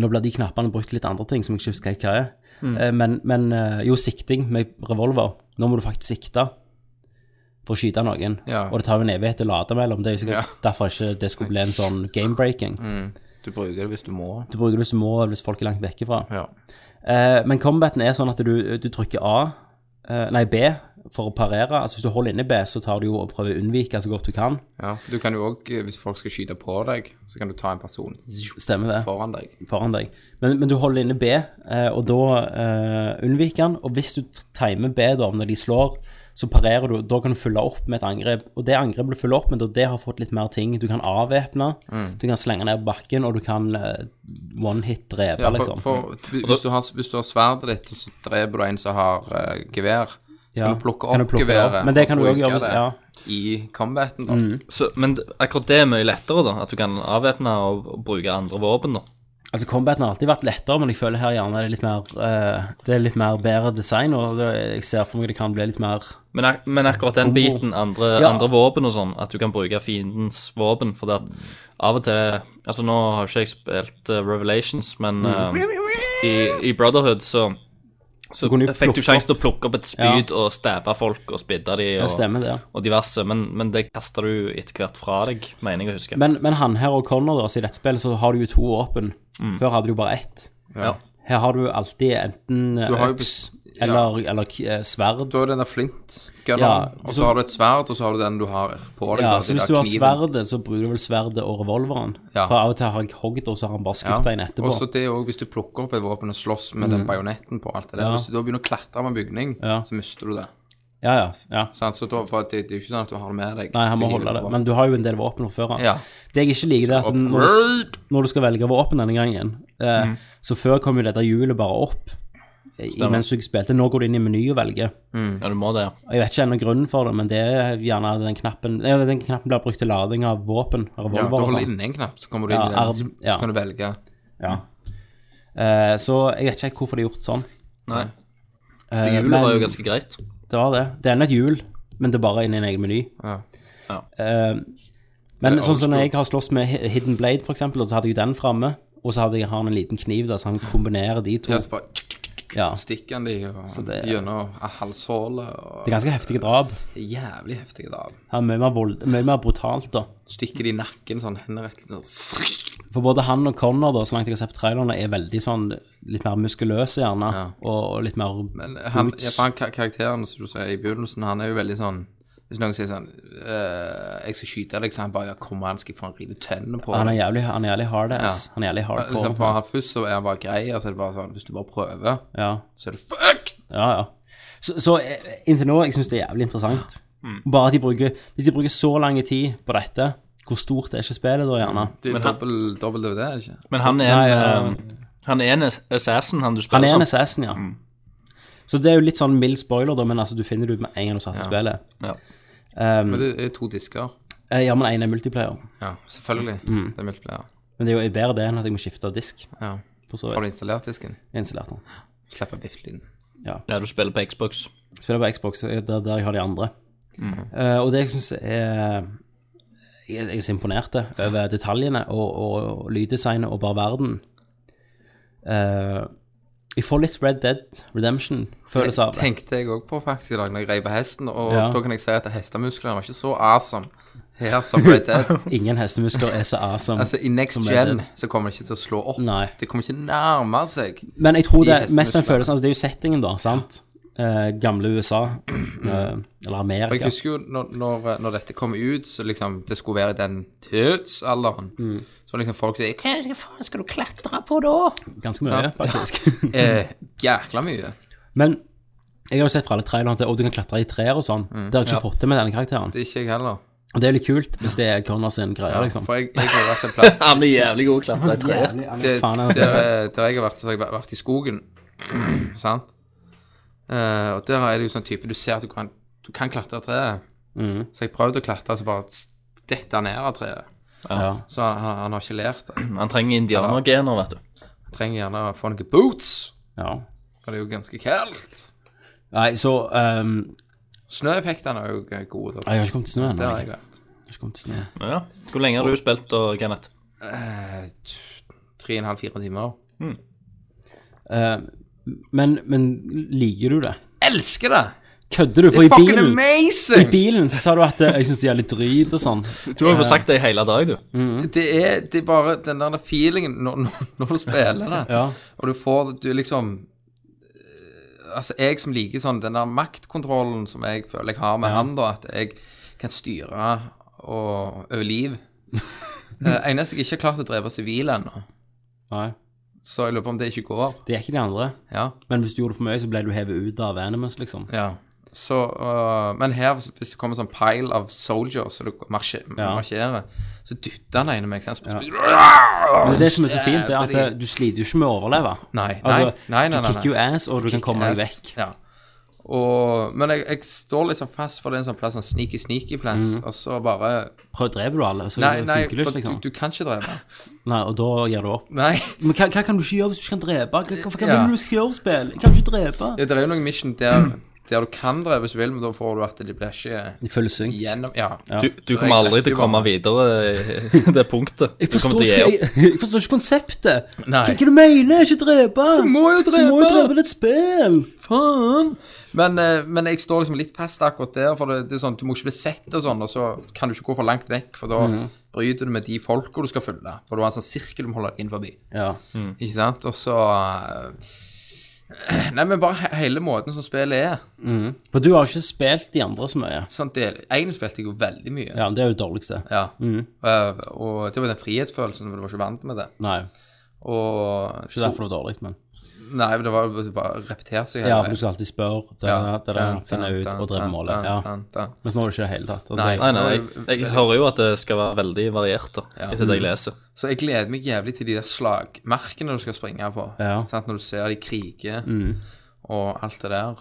Speaker 6: nå blir de knappene brukt til litt andre ting som jeg ikke husker helt hva er. Eh, men men eh, jo, sikting med revolver. Nå må du faktisk sikte for å skyte noen.
Speaker 1: Ja.
Speaker 6: Og det tar jo en evighet å lade mellom. Det er jo sikkert derfor ikke det skulle bli en sånn game-breaking.
Speaker 1: Du bruker det hvis du må.
Speaker 6: Du bruker det som mål hvis folk er langt vekke fra.
Speaker 1: Ja.
Speaker 6: Eh, men combaten er sånn at du, du trykker A, eh, nei B, for å parere. Altså hvis du holder inne B, så tar du jo og prøver å unnvike så godt du kan.
Speaker 1: ja. Du kan jo òg, hvis folk skal skyte på deg, så kan du ta en person
Speaker 6: Stemmer det,
Speaker 1: foran deg.
Speaker 6: foran deg. Men, men du holder inne B, eh, og da eh, unnviker han. Og hvis du t- timer B da, når de slår, så parerer du. Da kan du fylle opp med et angrep. Og det angrepet du fyller opp med, da, det har fått litt mer ting. Du kan avvæpne,
Speaker 1: Mm.
Speaker 6: du kan slenge ned på bakken, og du kan eh, one-hit drepe,
Speaker 1: Ja, for,
Speaker 6: liksom.
Speaker 1: for, hvis, du har, hvis du har sverdet ditt, og så dreper du en som har eh, gevær, så
Speaker 6: Ja,
Speaker 1: kan du plukke
Speaker 6: kan
Speaker 1: opp
Speaker 6: du plukke det opp.
Speaker 1: geværet
Speaker 6: Men det kan
Speaker 1: og
Speaker 6: du også
Speaker 1: bruke
Speaker 6: gjøre hvis-
Speaker 1: det
Speaker 6: ja. Mm.
Speaker 1: i combaten. Da.
Speaker 7: Så, men d- akkurat det er mye lettere, da. At du kan avvæpne og, og bruke andre våpen, da.
Speaker 6: Altså, combaten har alltid vært lettere, men jeg føler her gjerne er det litt mer, eh, det er litt mer bedre design, og det, jeg ser for meg det kan bli litt mer
Speaker 7: Men, ak men akkurat den biten, andre,
Speaker 6: Oh. Ja.
Speaker 7: andre våpen og sånn, at du kan bruke fiendens våpen. For det at av og til Altså, nå har ikke jeg spilt eh, Revelations, men
Speaker 6: Mm.
Speaker 7: eh, i, i Brotherhood så så
Speaker 6: kunne du
Speaker 7: fikk du
Speaker 6: plukke
Speaker 7: sjanse til å plukke opp et spyd og stabbe folk og spidde de
Speaker 6: Det
Speaker 7: og,
Speaker 6: stemmer, det.
Speaker 7: og diverse, men, men det kaster du etter hvert fra deg, mener jeg å huske.
Speaker 6: Men, men han her og Connor, da, så i dette spillet så har du jo to våpen.
Speaker 1: Mm.
Speaker 6: Før hadde du bare ett.
Speaker 7: ja.
Speaker 6: Her har du alltid enten eh,
Speaker 1: Du har jo
Speaker 6: øks
Speaker 1: bes- ja.
Speaker 6: eller, eller k- eh, sverd.
Speaker 1: Du har den der flint-gunneren,
Speaker 6: Ja,
Speaker 1: og
Speaker 6: så-
Speaker 1: så har du et sverd, og så har du den du har på deg.
Speaker 6: Ja,
Speaker 1: da,
Speaker 6: så
Speaker 1: den
Speaker 6: hvis
Speaker 1: der
Speaker 6: du har
Speaker 1: kniven.
Speaker 6: sverdet, så bruker du vel sverdet og revolveren.
Speaker 1: Ja.
Speaker 6: For av og til har jeg hogd, og så har han bare skutt deg inn etterpå.
Speaker 1: Og så det òg, hvis du plukker opp et våpen og slåss med den bajonetten på alt det der.
Speaker 6: Ja.
Speaker 1: Hvis du da begynner å klatre med bygning,
Speaker 6: Ja.
Speaker 1: så mister du det.
Speaker 6: Ja, ja, ja.
Speaker 1: Sant? Så da, for det, det er jo ikke sånn at du har det med deg.
Speaker 6: Nei, han må
Speaker 1: Du hiver
Speaker 6: holde det.
Speaker 1: på.
Speaker 6: Men du har jo en del våpen fra før av.
Speaker 1: Ja.
Speaker 6: Det jeg ikke liker, det er at når du, når du skal velge våpen denne gangen, eh, så før kom jo dette hjulet bare opp eh, mens du spilte. Nå går du inn i meny og velger.
Speaker 7: ja, du må det. ja.
Speaker 6: Jeg vet ikke ennå grunnen for det, men det er gjerne den knappen ja, Den knappen blir brukt til lading av våpen,
Speaker 1: ja, du
Speaker 6: revolver og
Speaker 1: holder
Speaker 6: sånn.
Speaker 1: inne en knapp, så kommer du inn i
Speaker 6: Ja,
Speaker 1: den, så,
Speaker 6: arm- ja.
Speaker 1: så kan du velge.
Speaker 6: Ja. Eh, så jeg vet ikke helt hvorfor det er gjort sånn.
Speaker 7: Nei.
Speaker 6: Eh,
Speaker 7: Hjulet
Speaker 6: men
Speaker 7: var jo ganske greit.
Speaker 6: Det var det. Det er ennå et hjul, men det er bare inn i en egen meny.
Speaker 1: Ja.
Speaker 6: Eh, men
Speaker 1: Det er
Speaker 6: sånn som når
Speaker 1: old
Speaker 6: jeg har slåss med Hi- Hidden Blade, for eksempel, og så hadde jeg den framme, og så hadde jeg har han en liten kniv der, så han kombinerer de to.
Speaker 1: Ja, så bare
Speaker 6: Ja.
Speaker 1: stikker han de og
Speaker 6: det er-
Speaker 1: gjennom halshålet og
Speaker 6: Det er ganske heftige drap.
Speaker 1: Jævlig heftige drap.
Speaker 6: Det er mye mer, vold, mye mer brutalt, da.
Speaker 1: Stikker de i nakken sånn henrettelse sånn.
Speaker 6: For både han og Connor, da, så langt jeg har sett på trailerne, er veldig sånn litt mer muskuløse, gjerne,
Speaker 1: Ja.
Speaker 6: og, og litt mer
Speaker 1: Men han,
Speaker 6: boots.
Speaker 1: ja, for han ka- karakteren som du sier i begynnelsen, han er jo veldig sånn Hvis noen sier sånn «Øh, 'Jeg skal skyte deg', så han bare ja, 'Kom an, skal jeg faen rive tennene på
Speaker 6: Han er
Speaker 1: deg».
Speaker 6: jævlig, han er jævlig hard-ass.
Speaker 1: Ja.
Speaker 6: Han er jævlig
Speaker 1: Liksom, for
Speaker 6: hardcore.
Speaker 1: han Først så er han bare grei, og så er det bare sånn Hvis du bare prøver,
Speaker 6: Ja,
Speaker 1: så er du fucked!
Speaker 6: ja. ja. Så, så eh, inntil nå, jeg syns det er jævlig interessant.
Speaker 1: Mm.
Speaker 6: Bare at de bruker Hvis de bruker så lang tid på dette, hvor stort er ikke spillet da, gjerne?
Speaker 1: Mm. Det
Speaker 7: Men
Speaker 1: er
Speaker 7: han-
Speaker 1: dobbel dobbel DVD, er det ikke?
Speaker 7: Men han er en,
Speaker 6: Nei, ja.
Speaker 7: eh, han er en assassin, han du
Speaker 6: Han er
Speaker 7: spiller
Speaker 6: en
Speaker 1: sånn-
Speaker 7: som.
Speaker 6: assassin, ja.
Speaker 1: Mm.
Speaker 6: Så det er jo litt sånn mild spoiler, da, men altså, du finner det ut med en gang du starter spillet.
Speaker 7: Ja.
Speaker 1: Men det er to disker. Mm.
Speaker 6: Eh, Ja, men én er multiplayer.
Speaker 1: Mm. Ja, selvfølgelig. Det er multiplayer.
Speaker 6: Men det er jo bedre det enn at jeg må skifte disk.
Speaker 1: Ja.
Speaker 6: For så
Speaker 1: Har du
Speaker 6: vidt.
Speaker 1: installert disken?
Speaker 6: Installert den.
Speaker 1: Slipper biff-lyden.
Speaker 7: Ja, du spiller på Xbox.
Speaker 6: Spiller på Xbox, det er der jeg har de andre.
Speaker 1: Mm.
Speaker 6: Eh, og det jeg syns er Jeg jeg er så imponert eh, over detaljene og, og, og lyddesignet og bare verden. Eh, jeg får litt Red Dead Redemption-følelse av
Speaker 1: Det
Speaker 6: det.
Speaker 1: tenkte jeg òg på faktisk i dag når jeg rei på hesten, og
Speaker 6: Ja.
Speaker 1: da kan jeg si at hestemusklene var ikke så awesome her som Red Dead.
Speaker 6: Ingen hestemuskler er så awesome.
Speaker 1: Altså, i Next
Speaker 6: som Red
Speaker 1: Gen
Speaker 6: Dead.
Speaker 1: så kommer det ikke til å slå opp.
Speaker 6: Nei.
Speaker 1: Det kommer ikke nærme seg.
Speaker 6: Men jeg tror
Speaker 1: de
Speaker 6: det er mest den
Speaker 1: hestemusklene.
Speaker 6: følelsen altså Det er jo settingen, da. sant? Eh, gamle USA. eh, eller
Speaker 1: Og jeg
Speaker 6: Amerika.
Speaker 1: husker jo når, når, når dette kom ut, så liksom det skulle være i den tidsalderen. Så var liksom folk sier Hva er det, faen skal du klatre på da?
Speaker 6: Ganske mye,
Speaker 1: Sant?
Speaker 6: faktisk.
Speaker 1: Eh, jækla mye.
Speaker 6: Men
Speaker 1: Mm.
Speaker 6: jeg har jo sett fra alle trailerne at å, du kan klatre i trær og sånn. Det har jeg ikke fått til med denne karakteren.
Speaker 1: Det er ikke jeg heller.
Speaker 6: Og det er litt kult hvis det er Connor sin greie, liksom.
Speaker 1: For jeg, jeg har vært en plass
Speaker 7: Han er jævlig god til å klatre i tre.
Speaker 6: Jævlig, ja, men
Speaker 1: det,
Speaker 6: faen, altså. er det-
Speaker 1: der, der jeg har vært, så har jeg vært- vært i skogen. sant? Eh, og der er det jo sånn type Du ser at du kan, du kan klatre av treet.
Speaker 6: Mhm.
Speaker 1: Så jeg prøvde å klatre, så bare detter han ned av treet.
Speaker 6: ja.
Speaker 1: Så han, han har ikke lært det.
Speaker 7: Han trenger indianergener, vet du.
Speaker 1: Jeg trenger gjerne å få noen boots,
Speaker 6: ja.
Speaker 1: for det er jo ganske kaldt.
Speaker 6: Nei, så ehm,
Speaker 1: Snøeffektene er jo eh, gode. Da.
Speaker 6: Jeg har ikke kommet til snø
Speaker 1: Det
Speaker 6: ennå.
Speaker 1: har
Speaker 6: Jeg
Speaker 1: jeg lært.
Speaker 6: har ikke kommet til snø.
Speaker 7: Ja. Hvor lenge har du spilt da, Kenneth?
Speaker 1: Eh, t- Tre og en halv, fire timer.
Speaker 6: Eh, men, men liker du det?
Speaker 1: Elsker det!
Speaker 6: Kødder du?
Speaker 1: Det
Speaker 6: For i
Speaker 1: er fucking
Speaker 6: bilen, i
Speaker 1: amazing!
Speaker 6: bilen så sa du at eh, jeg syns de er litt drit og sånn.
Speaker 7: Du har jo sagt det i hele dag, du.
Speaker 6: Mm.
Speaker 1: Det er, det er bare den der feelingen når, når, når du spiller det.
Speaker 6: Ja.
Speaker 1: Og du får Du er liksom eh, Altså, jeg som liker sånn den der maktkontrollen som jeg føler jeg har med han, da, at jeg kan styre og over liv Det eneste jeg ikke har klart å drepe sivile ennå,
Speaker 6: Nei.
Speaker 1: så jeg lurer på om det ikke går.
Speaker 6: Det er ikke de andre.
Speaker 1: Ja.
Speaker 6: Men hvis du gjorde det for mye, så ble du hevet ut av Animus, liksom.
Speaker 1: ja. Så eh, Men her, hvis det kommer sånn pile of soldiers, og du marsjer,
Speaker 6: Ja.
Speaker 1: marsjerer, så dytter han ene meg. sant? Så
Speaker 6: Men det som er så fint, er at eh, du sliter jo ikke med å overleve.
Speaker 1: Nei, nei,
Speaker 6: Altså,
Speaker 1: nei, nei, nei,
Speaker 6: Du
Speaker 1: nei.
Speaker 6: kicker jo ass, og du kan komme deg
Speaker 1: Yes,
Speaker 6: vekk.
Speaker 1: Ja. Og, men jeg, jeg står liksom fast for det er en sånn plass, en sneaky, sneaky plass, og så bare
Speaker 6: Prøv, dreper du alle, så
Speaker 1: Nei, nei,
Speaker 6: funker Mhm. det
Speaker 1: for
Speaker 6: ikke, liksom.
Speaker 1: du, du kan ikke drepe.
Speaker 6: Nei, og da gir du opp.
Speaker 1: Nei.
Speaker 6: Men hva, hva kan du ikke gjøre hvis du ikke kan drepe? Hva, hva, hva
Speaker 1: Ja.
Speaker 6: vil du skal gjøre, spill? Jeg kan ikke drepe.
Speaker 1: Ja, det er jo noen mission der, der du kan drepe hvis du vil, men da får du at de blir ikke
Speaker 6: I full synk.
Speaker 1: gjennom Ja.
Speaker 7: Du, du kommer aldri til å komme videre i det punktet.
Speaker 6: Jeg
Speaker 7: Du
Speaker 6: forstår,
Speaker 7: kommer til
Speaker 6: ikke,
Speaker 7: å gi opp.
Speaker 6: jeg, jeg forstår ikke konseptet.
Speaker 1: Nei.
Speaker 6: Hva, hva du mener? Ikke drepe? Du må jo drepe. Du må jo drepe det er et spill. Faen.
Speaker 1: Men, eh, men jeg står liksom litt fast akkurat der, for det, det er sånn, du må ikke bli sett og sånn, og så kan du ikke gå for langt vekk, for da
Speaker 6: Mhm.
Speaker 1: bryter du med de folka du skal følge, for du har en sånn sirkel du må holde deg inn forbi.
Speaker 6: Ja.
Speaker 1: Ikke sant? Og så eh, Nei, men bare he- hele måten som spillet er.
Speaker 6: For du har ikke spilt de andre så mye.
Speaker 1: Sånn del, en spilte jeg jo veldig mye.
Speaker 6: Ja, men det er jo det dårligste. Mm.
Speaker 1: Eh, og det var den frihetsfølelsen, for du var ikke vant med det.
Speaker 6: Nei,
Speaker 1: Og
Speaker 6: ikke derfor det er dårlig, men
Speaker 1: Nei, men det var jo bare repetert seg. hele
Speaker 6: Ja, for
Speaker 1: veien.
Speaker 6: du skal alltid spørre, da, da, da,
Speaker 1: dun,
Speaker 6: finne
Speaker 1: dun,
Speaker 6: ut
Speaker 1: dun,
Speaker 6: og drepe
Speaker 1: dun,
Speaker 6: målet.
Speaker 1: dun,
Speaker 6: Ja.
Speaker 1: dun, dun.
Speaker 6: Men nå er det ikke det i det hele tatt. Altså,
Speaker 1: Nei.
Speaker 6: det-
Speaker 7: Nei, nei, jeg, jeg hører jo at det skal være veldig variert, da, etter det jeg leser.
Speaker 1: Så jeg gleder meg jævlig til de der slagmerkene du skal springe på.
Speaker 6: Ja.
Speaker 1: Sant? Når du ser de krige og alt det der.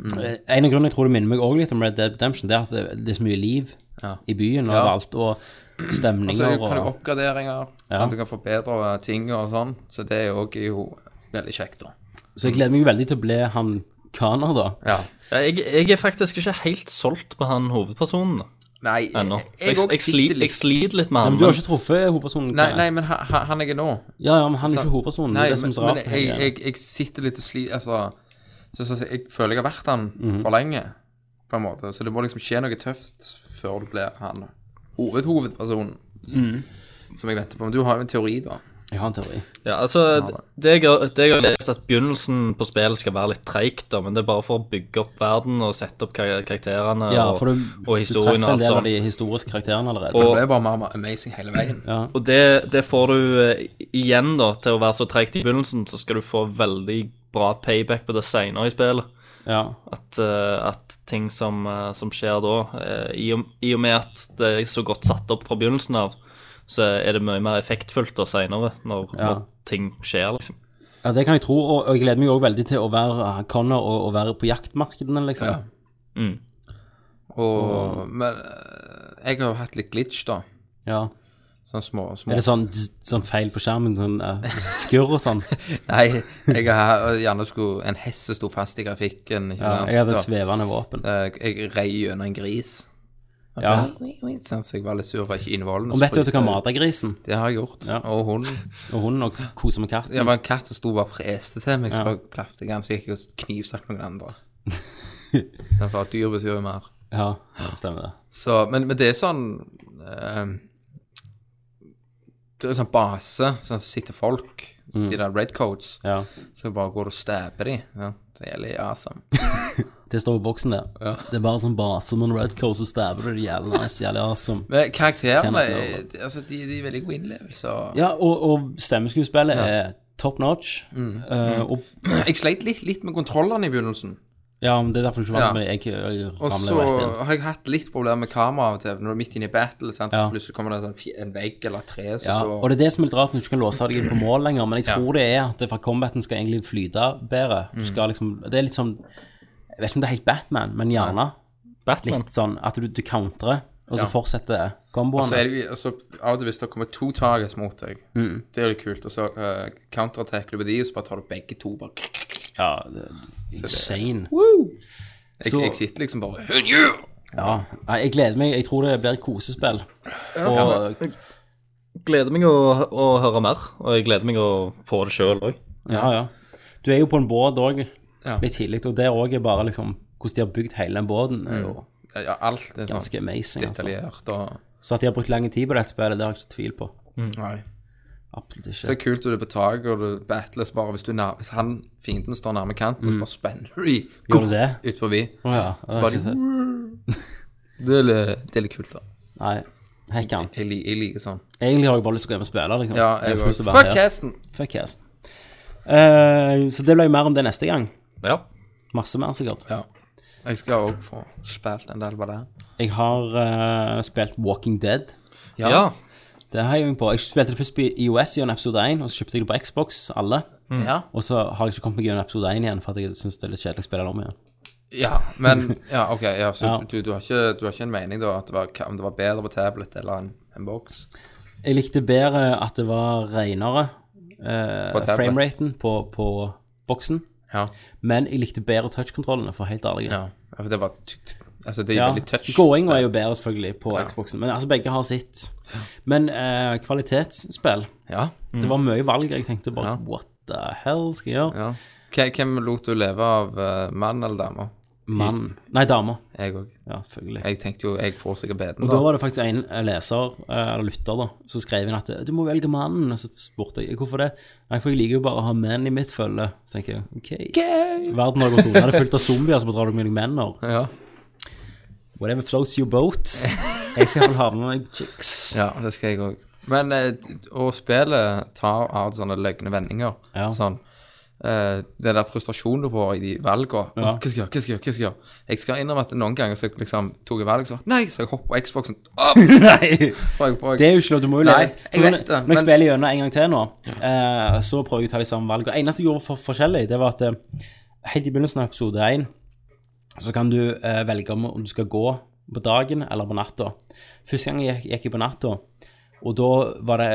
Speaker 1: Mm,
Speaker 6: Eh, mm. En av grunnene jeg tror det minner meg også litt om Red Dead Redemption, det er at det, det er så mye liv
Speaker 1: Ja.
Speaker 6: i byen og
Speaker 1: Ja.
Speaker 6: overalt, og
Speaker 1: Og så
Speaker 6: stemninger og
Speaker 1: kan du oppgraderinger, sant? du kan forbedre ting og sånn. Så det er jo også jo veldig kjekt, da.
Speaker 6: Så jeg gleder meg veldig til å bli han kaner, da.
Speaker 1: Ja.
Speaker 7: Ja, Jeg, jeg er faktisk ikke helt solgt på han hovedpersonen da,
Speaker 1: Nei, jeg,
Speaker 7: ennå.
Speaker 1: jeg,
Speaker 7: Jeg,
Speaker 1: også
Speaker 7: jeg,
Speaker 1: sitter
Speaker 7: sli- jeg
Speaker 1: litt
Speaker 7: sliter litt med han.
Speaker 6: Men du har ikke truffet hovedpersonen?
Speaker 1: Nei,
Speaker 6: Kenneth.
Speaker 1: nei, men ha- ha- han jeg er nå
Speaker 6: Ja, ja, men han er
Speaker 1: Så-
Speaker 6: ikke hovedpersonen.
Speaker 1: Nei,
Speaker 6: Sånn, det er det som
Speaker 1: men,
Speaker 6: er så rart.
Speaker 1: men jeg, jeg, jeg sitter litt og sliter altså, så, så, så, Jeg føler jeg har vært han
Speaker 6: Mhm.
Speaker 1: for lenge, på en måte. Så det må liksom skje noe tøft før du blir han hovedhovedpersonen.
Speaker 6: Mhm.
Speaker 1: Som jeg venter på. Men du har jo en teori, da.
Speaker 6: Jeg har en teori.
Speaker 7: Ja, altså, det jeg, har- det jeg har lest at begynnelsen på spillet skal være litt treigt, da, men det er bare for å bygge opp verden og sette opp kar karakterene
Speaker 6: Ja,
Speaker 7: og,
Speaker 6: for du,
Speaker 7: og
Speaker 6: du treffer
Speaker 7: historien og
Speaker 6: en
Speaker 7: alt
Speaker 6: del av
Speaker 7: sånt.
Speaker 6: de historiske karakterene allerede.
Speaker 1: Det
Speaker 7: Og-
Speaker 1: ble bare mer og mer amazing hele veien.
Speaker 6: ja.
Speaker 7: Og det, det får du eh, igjen, da, til å være så treigt i begynnelsen, så skal du få veldig bra payback på det seinere i spillet.
Speaker 6: ja.
Speaker 7: At, eh, at ting som, eh, som skjer da, eh, i, og, i og med at det er så godt satt opp fra begynnelsen av, så er det mye mer effektfullt da seinere, når,
Speaker 6: Ja.
Speaker 7: når ting skjer, liksom.
Speaker 6: ja, det kan jeg tro, og, og jeg gleder meg òg veldig til å være eh, Connor og, og være på jaktmarkedene, liksom.
Speaker 1: Ja.
Speaker 7: Mm.
Speaker 1: Og Men eh, jeg har jo hatt litt glitch, da.
Speaker 6: Ja.
Speaker 1: Sånn små, små
Speaker 6: Er det sånn, dzz, sånn feil på skjermen, sånn eh, skurr og sånn?
Speaker 1: Nei, jeg har og gjerne skulle En hest som sto fast i grafikken. Ikke
Speaker 6: Ja,
Speaker 1: sant?
Speaker 6: jeg hadde
Speaker 1: Da,
Speaker 6: et svevende våpen.
Speaker 1: eh, jeg rei gjennom en gris.
Speaker 6: Ja.
Speaker 1: Sånn, så jeg var litt sur for ikke innvollen.
Speaker 6: Og vet du at du kan mate grisen
Speaker 1: Det har jeg gjort.
Speaker 6: Ja.
Speaker 1: Og hunden.
Speaker 6: og hunden og kose med katten?
Speaker 1: Det var en katt som sto og bare freste til meg, så bare klappet jeg han, så gikk jeg og knivstakk noen andre. Istedenfor at dyr betyr jo mer.
Speaker 6: Ja, stemmer det.
Speaker 1: Så, men, men det er sånn eh, Det er sånn base, sånn som sitter folk,
Speaker 6: Mm.
Speaker 1: de der red coats,
Speaker 6: Ja.
Speaker 1: så bare går du og stabber de. Ja. Det gjelder awesome.
Speaker 6: Det står i boksen der. Det er bare sånn base med en red coast, så stabber du det jævlig nice, jævlig awesome.
Speaker 1: Men
Speaker 6: Cannot
Speaker 1: karakterene
Speaker 6: know
Speaker 1: er- altså, de, de er veldig gode innlevelser.
Speaker 6: Ja, og, og
Speaker 1: Mm.
Speaker 6: stemmeskuespillet er top notch. eh, og
Speaker 1: Jeg sleit litt, litt med kontrollene i begynnelsen.
Speaker 6: Ja, men det er derfor du ikke
Speaker 1: Ja.
Speaker 6: vant med jeg, jeg, jeg
Speaker 1: Og
Speaker 6: ramler
Speaker 1: så
Speaker 6: rett inn.
Speaker 1: har jeg hatt litt problemer med kamera av og til. Når du er midt inne i battle, sant?
Speaker 6: Ja.
Speaker 1: så plutselig kommer det en, fi- en vegg eller et tre som
Speaker 6: Ja, og
Speaker 1: står
Speaker 6: det er det som er litt rart, når du ikke kan låse deg inn på mål lenger, men jeg
Speaker 1: Ja. Mm.
Speaker 6: tror det er at det for combaten skal egentlig flyte bedre. Du skal liksom, det er litt sånn, jeg vet ikke om det er helt Batman, men gjerne
Speaker 7: Batman.
Speaker 6: litt sånn at du, du countrer, og så
Speaker 1: Ja.
Speaker 6: fortsetter
Speaker 1: Og så er
Speaker 6: komboene.
Speaker 1: det jo og så av og til hvis det kommer to targets mot deg,
Speaker 6: Mm.
Speaker 1: det er jo litt kult. Og så uh, counterattacker du på de, og så bare tar du begge to. Bare, jeg,
Speaker 6: Ja, det er insane. Så-
Speaker 1: jeg sitter liksom bare «Hør you!»
Speaker 6: Ja, nei, jeg gleder meg. Jeg tror det blir et kosespill. Og,
Speaker 7: Gleder meg å, å høre mer, og jeg gleder meg å få det sjøl òg.
Speaker 6: ja, ja. Du er jo på en båt òg,
Speaker 1: Ja.
Speaker 6: litt tidlig, og der òg er bare liksom Hvordan de har bygd hele den båten, er jo
Speaker 1: Ja, alt er
Speaker 6: ganske
Speaker 1: sånn
Speaker 6: amazing. Altså.
Speaker 1: Mm. detaljert og
Speaker 6: Så at de har brukt lang tid på dette spillet, det har jeg ikke tvil på.
Speaker 1: Nei.
Speaker 6: Absolutt
Speaker 1: Så det
Speaker 6: ikke.
Speaker 1: er kult når du er på taket og du battles bare hvis, du er nær, hvis han, fienden står nærme kanten, og så bare spenner de
Speaker 6: Gjør Mm. du det?
Speaker 1: ut forbi.
Speaker 6: Å ja. det har
Speaker 1: Bare mm.
Speaker 6: jeg ikke
Speaker 1: de,
Speaker 6: sett.
Speaker 1: det, er litt, det er litt kult, da.
Speaker 6: Nei. Hekk han.
Speaker 1: Jeg, li- jeg liker sånn.
Speaker 6: Egentlig har jeg bare lyst til å gå hjem og spille. liksom.
Speaker 1: Ja,
Speaker 6: Jeg har
Speaker 1: jeg
Speaker 6: ikke lyst til
Speaker 1: òg.
Speaker 6: å være
Speaker 1: Fuck
Speaker 6: her.
Speaker 1: hesten!
Speaker 6: Fuck yes. Eh, så det blir jo mer om det neste gang.
Speaker 7: Ja.
Speaker 6: Masse mer, sikkert.
Speaker 1: Ja. Jeg skal òg få spilt en del på det.
Speaker 6: Jeg har eh, spilt Walking Dead.
Speaker 7: Ja.
Speaker 6: Det har jeg jo på. Jeg spilte det først på IOS gjennom episode 1, og så kjøpte jeg det på Xbox, alle.
Speaker 1: Ja.
Speaker 6: Og så har jeg ikke kommet meg gjennom episode 1 igjen, for at jeg syns det er litt kjedelig å spille det om igjen.
Speaker 1: ja, men Ja, OK. Ja, så
Speaker 6: Ja.
Speaker 1: Du, du, har ikke, du har ikke en mening, da, at det var, om det var bedre på tablet eller en, en boks?
Speaker 6: Jeg likte bedre at det var renere, eh,
Speaker 1: På tablet.
Speaker 6: frameraten på, på boksen.
Speaker 1: Ja.
Speaker 6: Men jeg likte bedre touchkontrollene, for helt ærlig.
Speaker 1: ja. For det var t- t- Altså, det er
Speaker 6: Ja,
Speaker 1: veldig touch.
Speaker 6: Gåinga er jo bedre, selvfølgelig, på Xboxen. Men altså, begge har sitt. Men eh, kvalitetsspill
Speaker 1: Ja.
Speaker 6: Det var mye valg. Jeg tenkte bare
Speaker 1: Ja.
Speaker 6: What the hell skal jeg gjøre?
Speaker 1: ja. Hvem- Hvem lot du leve av? eh, Mann eller dame?
Speaker 6: Mann Nei, dame.
Speaker 1: Jeg òg.
Speaker 6: Ja, selvfølgelig.
Speaker 1: Jeg tenkte jo jeg får sikkert beden,
Speaker 6: Og da
Speaker 1: da.
Speaker 6: var det faktisk en leser, eh, eller lytter, da, som skrev inn at eh, du må velge mannen. Og så spurte jeg hvorfor det. Nei, for jeg liker jo bare å ha menn i mitt følge. Så tenker jeg OK. Verden har gått unna. Det er fullt av zombier, så må dra deg med deg menn. og
Speaker 1: Ja.
Speaker 6: Whatever floats your boat. Jeg skal vel havne med chicks.
Speaker 1: ja, det skal jeg òg. Men eh, og spillet tar av sånne løgne vendinger.
Speaker 6: Ja.
Speaker 1: Sånn eh, Det der frustrasjonen du får i de valgene.
Speaker 6: Ja.
Speaker 1: Åh, Hva skal jeg gjøre? Hva skal jeg gjøre? Hva skal jeg gjøre? Jeg skal innrømme at noen ganger så jeg liksom tok jeg valg så Nei! Så jeg hopper på Xboxen. Åh,
Speaker 6: Nei.
Speaker 1: får jeg- får jeg-
Speaker 6: Det er jo ikke lov, du må jo
Speaker 1: Nei,
Speaker 6: leve.
Speaker 1: jeg
Speaker 6: Så
Speaker 1: vet
Speaker 6: når-
Speaker 1: det,
Speaker 6: Når jeg
Speaker 1: men-
Speaker 6: spiller gjennom en gang til nå, eh, så prøver jeg å ta de samme valgene. Eneste jeg gjorde for forskjellig, det var at eh, helt i begynnelsen av episode 1, så kan du eh, velge om, om du skal gå på dagen eller på natta. Første gang jeg gikk- gikk jeg på natta, og da var det,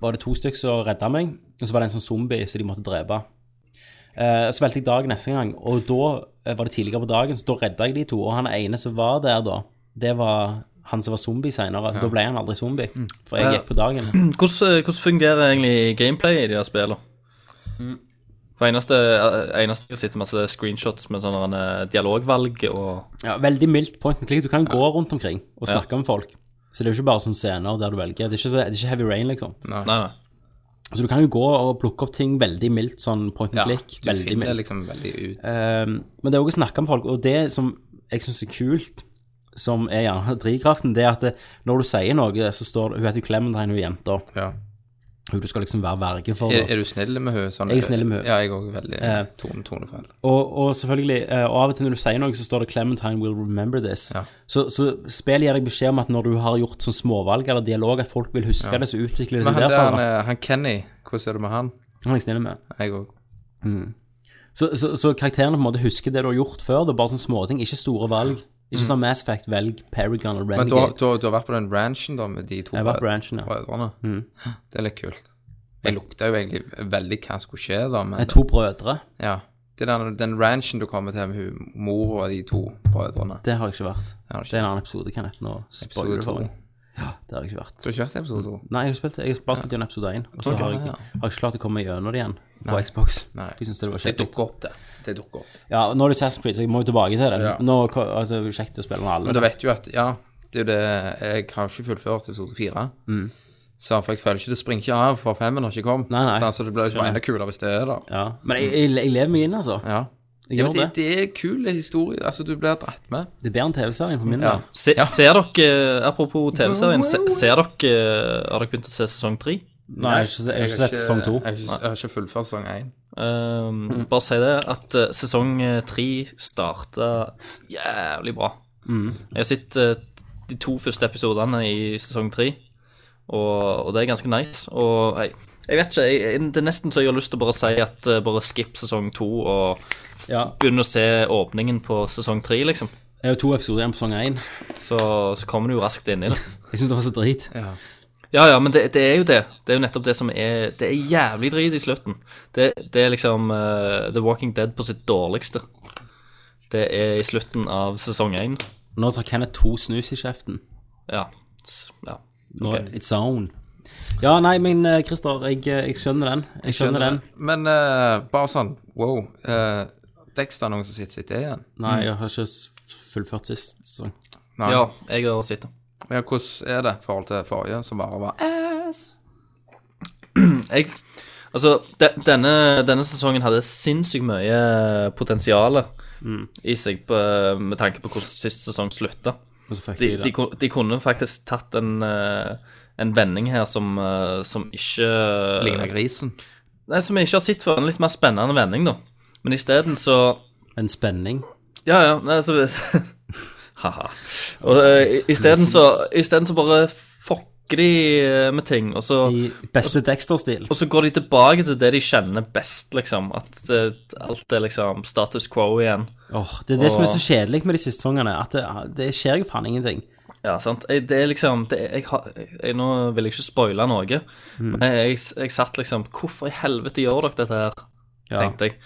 Speaker 6: var det to stykker som redda meg, og så var det en sånn zombie som de måtte drepe. Eh, så valgte jeg dag neste gang, og da eh, var det tidligere på dagen, så da redda jeg de to. Og han ene som var der da, det var han som var zombie seinere. Så da ble han aldri zombie,
Speaker 1: Mm.
Speaker 6: for jeg
Speaker 7: Ja.
Speaker 6: gikk på dagen.
Speaker 7: Hvordan, eh, hvordan fungerer egentlig gameplay i de her spillene? For eneste, eh, eneste jeg sitter med, så er screenshots med sånne eh, dialogvalg og
Speaker 6: Ja, veldig mildt point and click. Du kan gå rundt omkring og snakke med folk. Så det er jo ikke bare sånne scener der du velger. Det er ikke, så, det er ikke heavy rain, liksom.
Speaker 7: Nei, nei.
Speaker 6: Så du kan jo gå og plukke opp ting veldig mildt, sånn point and
Speaker 1: Ja,
Speaker 6: click.
Speaker 1: du
Speaker 6: veldig
Speaker 1: finner
Speaker 6: mildt.
Speaker 1: liksom veldig ut.
Speaker 6: Ehm, men det er òg å snakke med folk, og det som jeg syns er kult, som er gjerne drivkraften, det er at det, når du sier noe, så står det Hun heter jo Clementine, hun jenta.
Speaker 1: Ja.
Speaker 6: Hun du skal liksom være verge for.
Speaker 1: Er,
Speaker 6: da.
Speaker 1: er du snill med henne? Sånn,
Speaker 6: Jeg er snill med henne.
Speaker 1: Ja, jeg òg. Veldig
Speaker 6: Eh.
Speaker 1: tone, tonefeil.
Speaker 6: Og, og selvfølgelig, eh, og av og til når du sier noe, så står det 'Clementine will remember this'.
Speaker 1: Ja.
Speaker 6: Så, så spillet gir deg beskjed om at når du har gjort sånn småvalg eller dialog, at folk vil huske det, så utvikler det seg
Speaker 1: Men han, der, eh,
Speaker 6: derfra.
Speaker 1: han,
Speaker 6: da.
Speaker 1: eh, han Kenny, hvordan er det med han?
Speaker 6: Han er jeg snill med.
Speaker 1: Jeg òg.
Speaker 6: Så, så, så karakterene på en måte husker det du har gjort før, det er bare sånne småting, ikke store valg. Ikke sånn Mass Effect, velg Paragon og
Speaker 1: Mm. Men du har,
Speaker 6: Renegade.
Speaker 1: du, har, du har vært på den ranchen da med de to
Speaker 6: Jeg har vært på
Speaker 1: brød-
Speaker 6: ranchen, ja.
Speaker 1: brødrene?
Speaker 6: Mm.
Speaker 1: Det er litt kult. Jeg lukta jo egentlig veldig hva som skulle skje, da. Men
Speaker 6: Det er to brødre.
Speaker 1: ja. det er den, den ranchen du kommer til med hun mor og de to brødrene.
Speaker 6: Det har jeg ikke vært.
Speaker 1: har du ikke.
Speaker 6: Det er en annen episode, kan jeg nå spoile
Speaker 1: Episode
Speaker 6: for
Speaker 1: to.
Speaker 6: meg. Ja, det har jeg ikke vært.
Speaker 1: Du har ikke vært i episode to?
Speaker 6: Nei, jeg har, spilt, jeg har bare spilt gjennom episode 1, og så
Speaker 1: Ok,
Speaker 6: har jeg,
Speaker 1: ja.
Speaker 6: har jeg ikke klart å komme gjennom det igjen på Xbox.
Speaker 1: Nei.
Speaker 6: Jeg synes det var
Speaker 1: Det
Speaker 6: kjedelig.
Speaker 1: dukker opp, det. Det dukker opp.
Speaker 6: Ja, nå er det Assassin's Creed, så jeg må jo tilbake til det.
Speaker 1: Ja.
Speaker 6: Nå altså, det er kjekt å spille med alle.
Speaker 1: Men du vet jo at Ja, det er jo det Jeg har ikke fullført episode fire. Så for jeg føler ikke det springer ikke av, for femmen har ikke kommet.
Speaker 6: Mm. Nei, nei.
Speaker 1: Så altså, det blir jo bare enda kulere hvis det er der.
Speaker 6: Ja. Men jeg, jeg, jeg lever meg inn, altså.
Speaker 1: Ja.
Speaker 6: Jeg
Speaker 1: Ja,
Speaker 6: gjør
Speaker 1: men
Speaker 6: det.
Speaker 1: det, det er kule historier. Altså, du blir dratt med.
Speaker 6: Det er bedre enn TV-serien for min
Speaker 1: Ja.
Speaker 6: del.
Speaker 7: Se,
Speaker 1: Ja.
Speaker 7: Ser dere, eh, apropos TV-serien, se, ser dere Har dere begynt å se sesong tre?
Speaker 6: Nei, jeg har ikke, jeg har ikke sett sesong to.
Speaker 1: Jeg har ikke, jeg har ikke fullført sesong én.
Speaker 7: Um, Bare si det at eh, sesong eh, tre starta jævlig bra. Jeg har sett eh, de to første episodene i sesong tre, og, og det er ganske nice. Og jeg, jeg vet ikke, jeg, jeg, det er nesten så jeg har lyst til å bare si at eh, bare skip sesong to og
Speaker 6: Ja.
Speaker 7: begynn å se åpningen på sesong tre, liksom.
Speaker 6: Det er jo to episoder igjen på sesong én.
Speaker 7: Så, så kommer du jo raskt inn i det.
Speaker 6: Jeg syns det var så drit.
Speaker 7: Ja, ja, men det, det er jo det. Det er jo nettopp det som er Det er jævlig drit i slutten. Det, det er liksom eh, The Walking Dead på sitt dårligste. Det er i slutten av sesong én.
Speaker 6: Nå tar Kenneth to snus i kjeften.
Speaker 7: Ja. S- ja.
Speaker 6: Nå,
Speaker 7: Ok.
Speaker 6: It's on. Ja, nei, men eh, Christer, jeg, eh, jeg skjønner den. Jeg skjønner den.
Speaker 1: Men eh, bare sånn, wow. eh, Dexter er noen som sitter sitt det igjen.
Speaker 6: Nei, jeg har ikke s- fullført sist sesong.
Speaker 1: Nei.
Speaker 7: ja, jeg har sett det.
Speaker 1: Ja, hvordan er det i forhold til forrige, som bare var
Speaker 7: Eh, Jeg Altså, de, denne, denne sesongen hadde sinnssykt mye potensial i seg på, med tanke på hvordan sist sesong slutta.
Speaker 6: Og så fucker
Speaker 7: de,
Speaker 6: de
Speaker 7: de,
Speaker 6: det.
Speaker 7: ku- de kunne faktisk tatt en, eh, en vending her som, eh, som ikke
Speaker 1: ligner grisen?
Speaker 7: Nei, som jeg ikke har sett før. En litt mer spennende vending, da. Men isteden så
Speaker 6: En spenning.
Speaker 7: Ja, ja. Nei, så Ha-ha. Og eh, i- isteden så Isteden så bare fucker de eh, med ting, og så
Speaker 6: I beste Dexter-stil.
Speaker 7: og så går de tilbake til det de kjenner best, liksom. At eh, alt er liksom status quo igjen.
Speaker 6: Åh, det er det som er
Speaker 7: Og-
Speaker 6: så kjedelig med de siste sesongene, at det, det skjer jo faen ingenting.
Speaker 7: Ja, sant. Jeg, det er liksom det er, jeg, har- jeg, Nå vil jeg ikke spoile noe, men jeg, jeg, jeg satt liksom Hvorfor i helvete gjør dere dette her? tenkte jeg.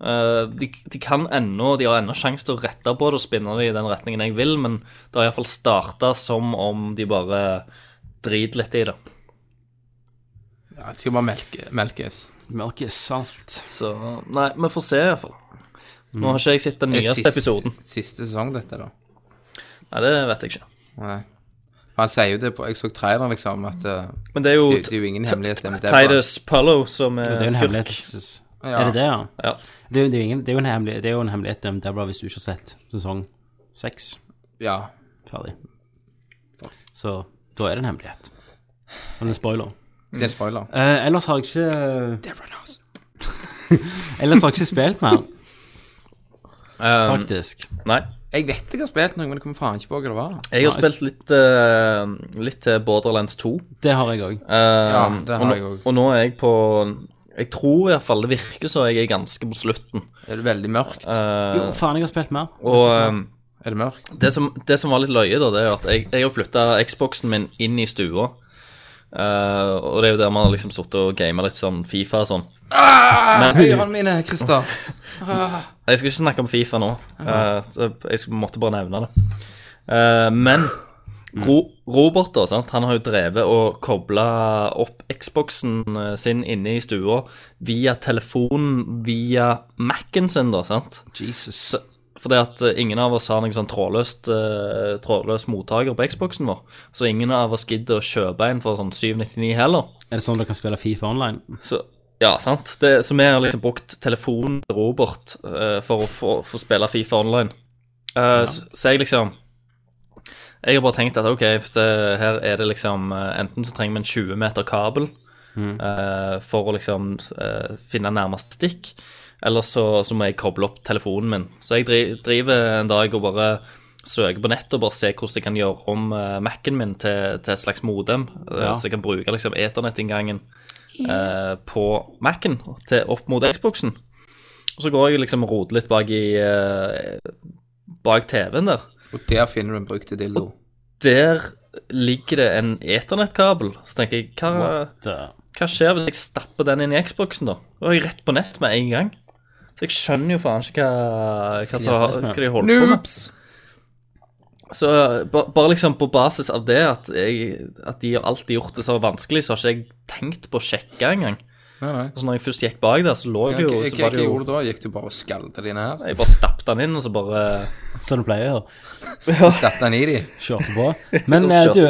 Speaker 7: Eh, de, de kan ennå De har ennå sjanse til å rette på det og spinne det i den retningen jeg vil, men det har iallfall starta som om de bare driter litt i det.
Speaker 1: Ja, det skal bare melke, melkes.
Speaker 6: Mørket salt.
Speaker 7: Så Nei, vi får se, iallfall.
Speaker 6: Mm.
Speaker 7: Nå har ikke jeg sett den
Speaker 1: Er
Speaker 7: nyeste
Speaker 1: sist-
Speaker 7: episoden.
Speaker 1: Siste sesong, dette, da.
Speaker 7: Nei, det vet jeg ikke.
Speaker 1: Nei. Han sier jo det på Jeg så traileren, liksom, at eh,
Speaker 7: Men det er jo
Speaker 1: det, det er jo ingen hemmelighet. det med det, bare-
Speaker 7: Titus Pullo som er,
Speaker 6: Det er jo en
Speaker 7: Eh, skurk.
Speaker 6: hemmelighet.
Speaker 1: Ja.
Speaker 6: Er det det, ja?
Speaker 7: Ja.
Speaker 6: Det er, jo- det, er jo ingen, det, er jo en hemmelig- det er jo en hemmelighet om Deborah hvis du ikke har sett sesong seks
Speaker 1: Ja.
Speaker 6: ferdig. Så da er det en hemmelighet. Men det er spoiler.
Speaker 1: Det er spoiler.
Speaker 6: Eh, ellers har jeg ikke Ellers har jeg ikke spilt mer,
Speaker 7: Um,
Speaker 6: faktisk.
Speaker 7: nei.
Speaker 1: Jeg vet jeg har spilt noe, men jeg kommer faen ikke på hva det var.
Speaker 7: Jeg har
Speaker 6: Nice.
Speaker 7: spilt litt, eh, litt til Borderlands 2.
Speaker 6: Det har jeg òg.
Speaker 7: Eh. ja,
Speaker 1: det har
Speaker 7: og, nå-
Speaker 1: jeg også.
Speaker 7: og nå er jeg på Jeg tror iallfall det virker så jeg er ganske på slutten.
Speaker 1: Er det veldig mørkt?
Speaker 7: Eh,
Speaker 6: Jo, faen, jeg har spilt mer.
Speaker 7: og eh,
Speaker 1: Er det mørkt?
Speaker 7: det, som, det som var litt løye, da, det er jo at jeg, jeg har flytta Xboxen min inn i stua. Eh, og det er jo der man har liksom sittet og gama litt sånn Fifa og sånn.
Speaker 1: Ørene mine, Christer.
Speaker 7: Jeg skal ikke snakke om Fifa nå. eh, så jeg sk- måtte bare nevne det. Eh, men Ro Robert, da, sant? han har jo drevet og kobla opp Xboxen eh, sin inne i stua via telefonen, via Mac-en sin, da, sant?
Speaker 6: Jesus.
Speaker 7: Så, fordi at eh, ingen av oss har noen sånn trådløst, eh, trådløs mottaker på Xboxen vår, så ingen av oss gidder å kjøpe en for sånn 799 heller.
Speaker 6: Er det sånn dere kan spille Fifa online?
Speaker 7: Så, ja, sant. Det, så vi har liksom brukt telefonen til Robert eh, for å få, få spille Fifa online. Eh, så, så jeg liksom Jeg har bare tenkt at OK, det, her er det liksom eh, Enten så trenger vi en 20 meter kabel eh, for å liksom eh, finne nærmeste stikk, eller så, så må jeg koble opp telefonen min. Så jeg dri, driver en dag og bare søker på nettet og bare ser hvordan jeg kan gjøre om eh, Mac-en min til, til et slags modem, eh,
Speaker 6: Ja.
Speaker 7: så jeg kan bruke liksom eternettinngangen eh, på Mac-en til- opp mot Xboxen. Og så går jeg liksom og roter litt bak i eh, bak TV-en der.
Speaker 1: Og der finner du en brukt dildo.
Speaker 7: Der ligger det en eternettkabel. Så tenker jeg, hva,
Speaker 6: What? the-
Speaker 7: hva skjer hvis jeg stapper den inn i Xboxen, da? Da er jeg rett på nett med en gang. Så jeg skjønner jo faen ikke hva, hva, så,
Speaker 6: Yes,
Speaker 7: hva de holder på med. Så ba, bare liksom på basis av det, at, jeg, at de har alltid gjort det så vanskelig, så har ikke jeg tenkt på å sjekke engang.
Speaker 1: Nei, nei.
Speaker 7: Så når jeg først gikk bak der, så lå
Speaker 1: Ja,
Speaker 7: jeg jo
Speaker 1: Hva
Speaker 7: så
Speaker 1: hva-
Speaker 7: var
Speaker 1: hva
Speaker 7: det jo,
Speaker 1: gjorde du da? Gikk du bare og skalte de ned?
Speaker 7: Jeg bare stappet den inn, og så bare
Speaker 6: Som du pleier å gjøre.
Speaker 1: Stappet den i de?
Speaker 6: Kjørte på. Men
Speaker 7: Og
Speaker 6: eh,
Speaker 7: kjørte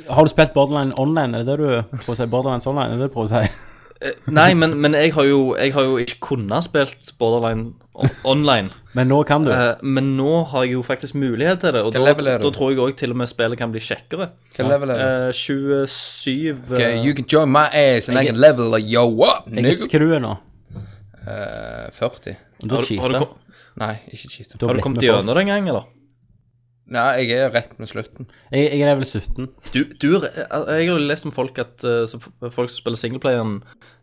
Speaker 6: du, har du spilt Borderline online? Er det det du prøver å si? Borderlands online, er det det du prøver å si?
Speaker 7: Nei, men, men jeg, har jo, jeg har jo ikke kunnet spilt Borderline on- online.
Speaker 6: Men nå kan du.
Speaker 7: Eh, men nå har jeg jo faktisk mulighet til det, og
Speaker 1: Hva
Speaker 7: da,
Speaker 1: level er du?
Speaker 7: da tror jeg òg til og med spillet kan bli kjekkere.
Speaker 1: Hva level er det?
Speaker 7: Eh, 27
Speaker 1: Okay,
Speaker 7: eh,
Speaker 1: you can join my ass, and I can level yo up,
Speaker 6: jeg er
Speaker 1: nigga.
Speaker 6: skrue nå.
Speaker 1: eh, 40.
Speaker 6: Du
Speaker 7: Har du- har du
Speaker 6: cheater.
Speaker 7: kom-
Speaker 1: Nei, ikke cheater.
Speaker 6: Da
Speaker 7: Har
Speaker 6: blir
Speaker 7: du kommet
Speaker 6: vi folk.
Speaker 7: gjennom det en gang, eller?
Speaker 1: Nei, jeg er rett med slutten.
Speaker 6: Jeg, jeg er vel 17.
Speaker 7: Du, du, eh, jeg har lest om folk at eh, som, folk som spiller singleplayeren,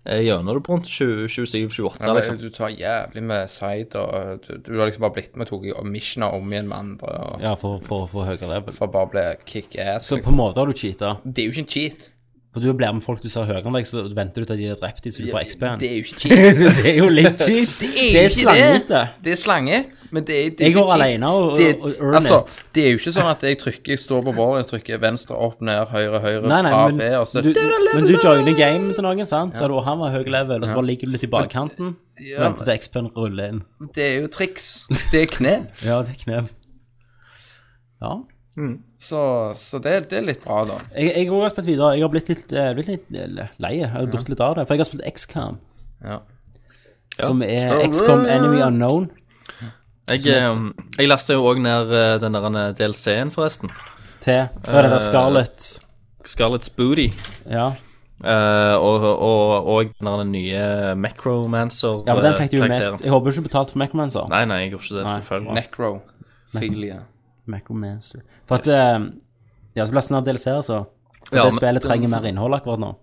Speaker 7: er gjennom det på rundt 27-28,
Speaker 1: Ja,
Speaker 6: sånn.
Speaker 7: liksom.
Speaker 1: Du tar jævlig med side, og du, du har liksom bare blitt med og tok missioner om igjen med andre, og
Speaker 6: Ja, for, for, for høyere level.
Speaker 1: for å bare bli kick-ass.
Speaker 6: Så på
Speaker 1: Liksom.
Speaker 6: en måte har du cheata.
Speaker 1: Det er jo ikke en cheat.
Speaker 6: For du blir med folk du ser høyere enn deg, så venter du til de er drept, så du får XP-en.
Speaker 1: Det er jo ikke cheat.
Speaker 6: det er jo litt cheat.
Speaker 1: Det er slangete. Det er slange, men det er, det er
Speaker 6: Jeg
Speaker 1: ikke
Speaker 6: går
Speaker 1: cheat.
Speaker 6: alene og- og-
Speaker 1: Det-
Speaker 6: og earn
Speaker 1: altså,
Speaker 6: it.
Speaker 1: Det er jo ikke sånn at jeg trykker, jeg står på bordet og trykker venstre, opp, ned, høyre, høyre,
Speaker 6: Nei, nei,
Speaker 1: A,
Speaker 6: men
Speaker 1: B, og så
Speaker 6: du, men du joiner game til noen, sant? Så er du, han var høy level, og så bare ligger du litt i bakkanten.
Speaker 1: Ja.
Speaker 6: Venter til XP-en ruller inn.
Speaker 1: Det er jo triks. Det er knep.
Speaker 6: Ja, det er knev. Ja.
Speaker 1: Så, så det, det er litt bra, da.
Speaker 6: Jeg, jeg har også spilt videre. Jeg har blitt litt, eh, blitt litt eh, lei. Jeg har dratt litt av det. For jeg har spilt XCOM,
Speaker 1: Ja.
Speaker 6: som er XCOM Enemy Unknown.
Speaker 7: Jeg, eh, jeg leste jo òg ned eh, den der DLC-en, forresten.
Speaker 6: Til hva
Speaker 7: Eh,
Speaker 6: er det der Scarlet
Speaker 7: Scarlet's Booty.
Speaker 6: Ja.
Speaker 7: eh, og, og, og den der nye Macromancer-karakteren.
Speaker 6: ja, men den fikk du jo mest Jeg håper ikke du betalte for Macromancer.
Speaker 7: eh, Nei, nei, jeg gjorde ikke det,
Speaker 6: Nei.
Speaker 7: selvfølgelig.
Speaker 1: Necro. Filia.
Speaker 6: Macromancer. For at eh, Ja, så ble det sånn her DLC, altså. For
Speaker 7: Ja,
Speaker 6: det
Speaker 7: men-
Speaker 6: spillet trenger mer innhold akkurat nå.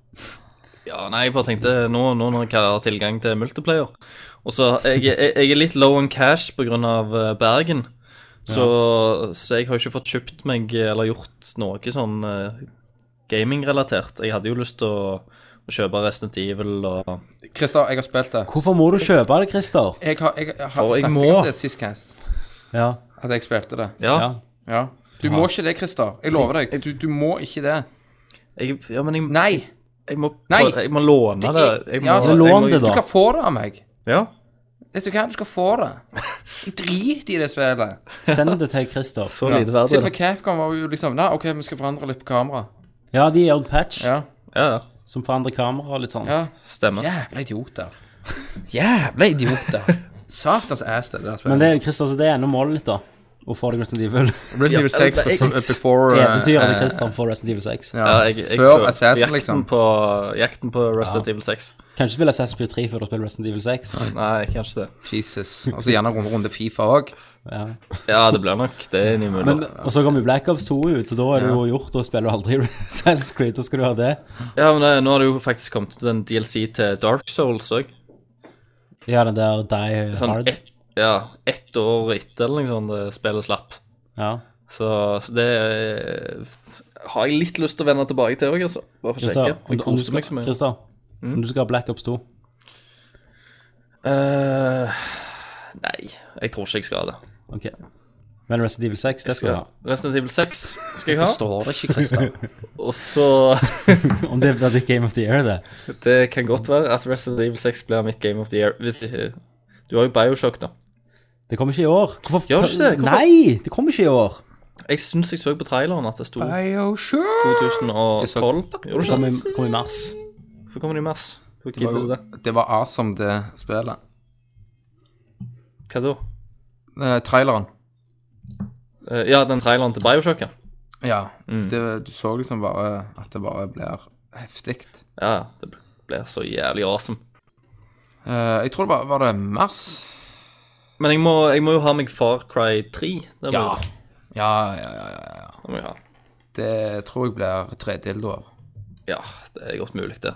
Speaker 7: Ja, nei, jeg bare tenkte nå, nå når jeg har tilgang til multiplayer Og så jeg, jeg, jeg er litt low on cash på grunn av eh, Bergen. Så, så jeg har jo ikke fått kjøpt meg eh, eller gjort noe sånn eh, gaming-relatert. Jeg hadde jo lyst til å, å kjøpe Resident Evil og
Speaker 1: Christer, jeg har spilt det.
Speaker 6: Hvorfor må du kjøpe det, Christer?
Speaker 1: Jeg har, jeg, jeg har
Speaker 7: For jeg
Speaker 1: snakket
Speaker 7: må.
Speaker 1: om det sist cast,
Speaker 6: Ja.
Speaker 1: at jeg spilte det.
Speaker 7: Ja,
Speaker 6: ja.
Speaker 1: Ja. Du må ikke det, Christer. Jeg lover deg. Du, du må ikke det.
Speaker 7: Jeg, ja men jeg,
Speaker 1: Nei.
Speaker 7: jeg, må,
Speaker 1: Nei.
Speaker 7: jeg må låne det.
Speaker 1: er-
Speaker 7: Jeg må,
Speaker 1: ja,
Speaker 6: Ja, lån det,
Speaker 1: Du
Speaker 6: da.
Speaker 1: kan få det av meg.
Speaker 7: Ja.
Speaker 1: Vet du hva, du skal få det. Jeg driter i det spillet.
Speaker 6: Send det til Christer.
Speaker 7: Så
Speaker 1: Ja.
Speaker 7: lite verdt
Speaker 1: Til og
Speaker 7: er
Speaker 1: med
Speaker 7: det.
Speaker 1: Capcom var jo liksom Nei, OK, vi skal forandre litt på kamera.
Speaker 6: Ja, de gjør en patch
Speaker 1: Ja.
Speaker 7: Ja, ja.
Speaker 6: som forandrer kamera og litt sånn.
Speaker 1: ja.
Speaker 7: Stemmer.
Speaker 1: Jævla idioter. Jævla idioter. Satans ass, det der spillet.
Speaker 6: Men det, er- Christer, så det er ennå målet ditt, da. Å få deg Resident Evil.
Speaker 1: Resident Evil
Speaker 7: Ja,
Speaker 1: 6
Speaker 7: det er
Speaker 1: som
Speaker 7: X.
Speaker 1: before eh,
Speaker 6: Eventyret til
Speaker 1: eh,
Speaker 6: Christer får Resident Evil 6.
Speaker 1: ja,
Speaker 7: Ja, jeg, jeg
Speaker 1: Før
Speaker 7: føler
Speaker 1: Assassin,
Speaker 7: jakten,
Speaker 1: liksom.
Speaker 7: på, jakten på Resident Evil 6.
Speaker 6: Kan ikke spille Assassin's Creed 3 før du spiller Resident Evil 6.
Speaker 7: Nei, kanskje det.
Speaker 1: Jesus. Og så gjerne runde, runde Fifa òg.
Speaker 6: Ja.
Speaker 7: Ja, det blir nok det innimellom.
Speaker 6: Men, og så kommer Black Ops 2 ut, så da er det jo gjort, og spiller du aldri Assassin's Creed, da skal du ha det.
Speaker 7: Ja, men det, nå har det jo faktisk kommet ut en DLC til Dark Souls òg.
Speaker 6: Ja, den der Die
Speaker 7: Sånn
Speaker 6: Hard.
Speaker 7: ett ja, ett år etter eller noe sånt det spillet slapp.
Speaker 6: Ja.
Speaker 7: Så, så det eh, har jeg litt lyst til å vende tilbake til òg, altså. Bare for å
Speaker 6: Christer,
Speaker 7: sjekke.
Speaker 6: om,
Speaker 7: Jeg
Speaker 6: du- om, du
Speaker 7: koste
Speaker 6: skal,
Speaker 7: meg Mm. så mye.
Speaker 6: Christer om du skal ha Black Ops 2
Speaker 7: Eh, nei, jeg tror ikke jeg skal ha det.
Speaker 6: Ok. Men Resident Evil 6, det skal du ha.
Speaker 7: Resident Evil 6 skal jeg ha.
Speaker 1: Står det ikke, Christer?
Speaker 7: Og så
Speaker 6: Om det blir ditt Game of the Year, det.
Speaker 7: Det kan godt være at Resident Evil 6 blir mitt Game of the Year. Hvis ikke Du har jo Bioshock nå.
Speaker 6: Det kommer ikke i år. Hvorfor
Speaker 7: Gjør det ikke det? Hvorfor-
Speaker 6: Nei, det kommer ikke i år.
Speaker 7: Jeg syns jeg så på traileren at det sto
Speaker 1: Bioshock.
Speaker 7: 2012.
Speaker 6: Det
Speaker 7: Gjorde du
Speaker 6: kommer
Speaker 7: ikke?
Speaker 6: i, kom i mars.
Speaker 7: Hvorfor kommer det i mars? Hvor
Speaker 1: Det var,
Speaker 7: gidder du
Speaker 1: jo,
Speaker 7: det?
Speaker 1: det var awesome, det spillet.
Speaker 7: Hva da?
Speaker 1: Eh, traileren.
Speaker 7: Eh, Ja, den traileren til Bioshock, ja.
Speaker 1: Ja.
Speaker 7: Mm.
Speaker 1: Det, du så liksom bare at det bare blir heftig.
Speaker 7: Ja, det blir så jævlig awesome.
Speaker 1: Eh, jeg tror det var, var det mars.
Speaker 7: Men jeg må, jeg må jo ha meg Far Cry 3. Det må,
Speaker 1: Ja.
Speaker 7: jeg-
Speaker 1: Ja, ja, ja. ja, ja.
Speaker 7: det må jeg ha.
Speaker 1: Det tror jeg blir tre dildoer.
Speaker 7: Ja, det er godt mulig, det.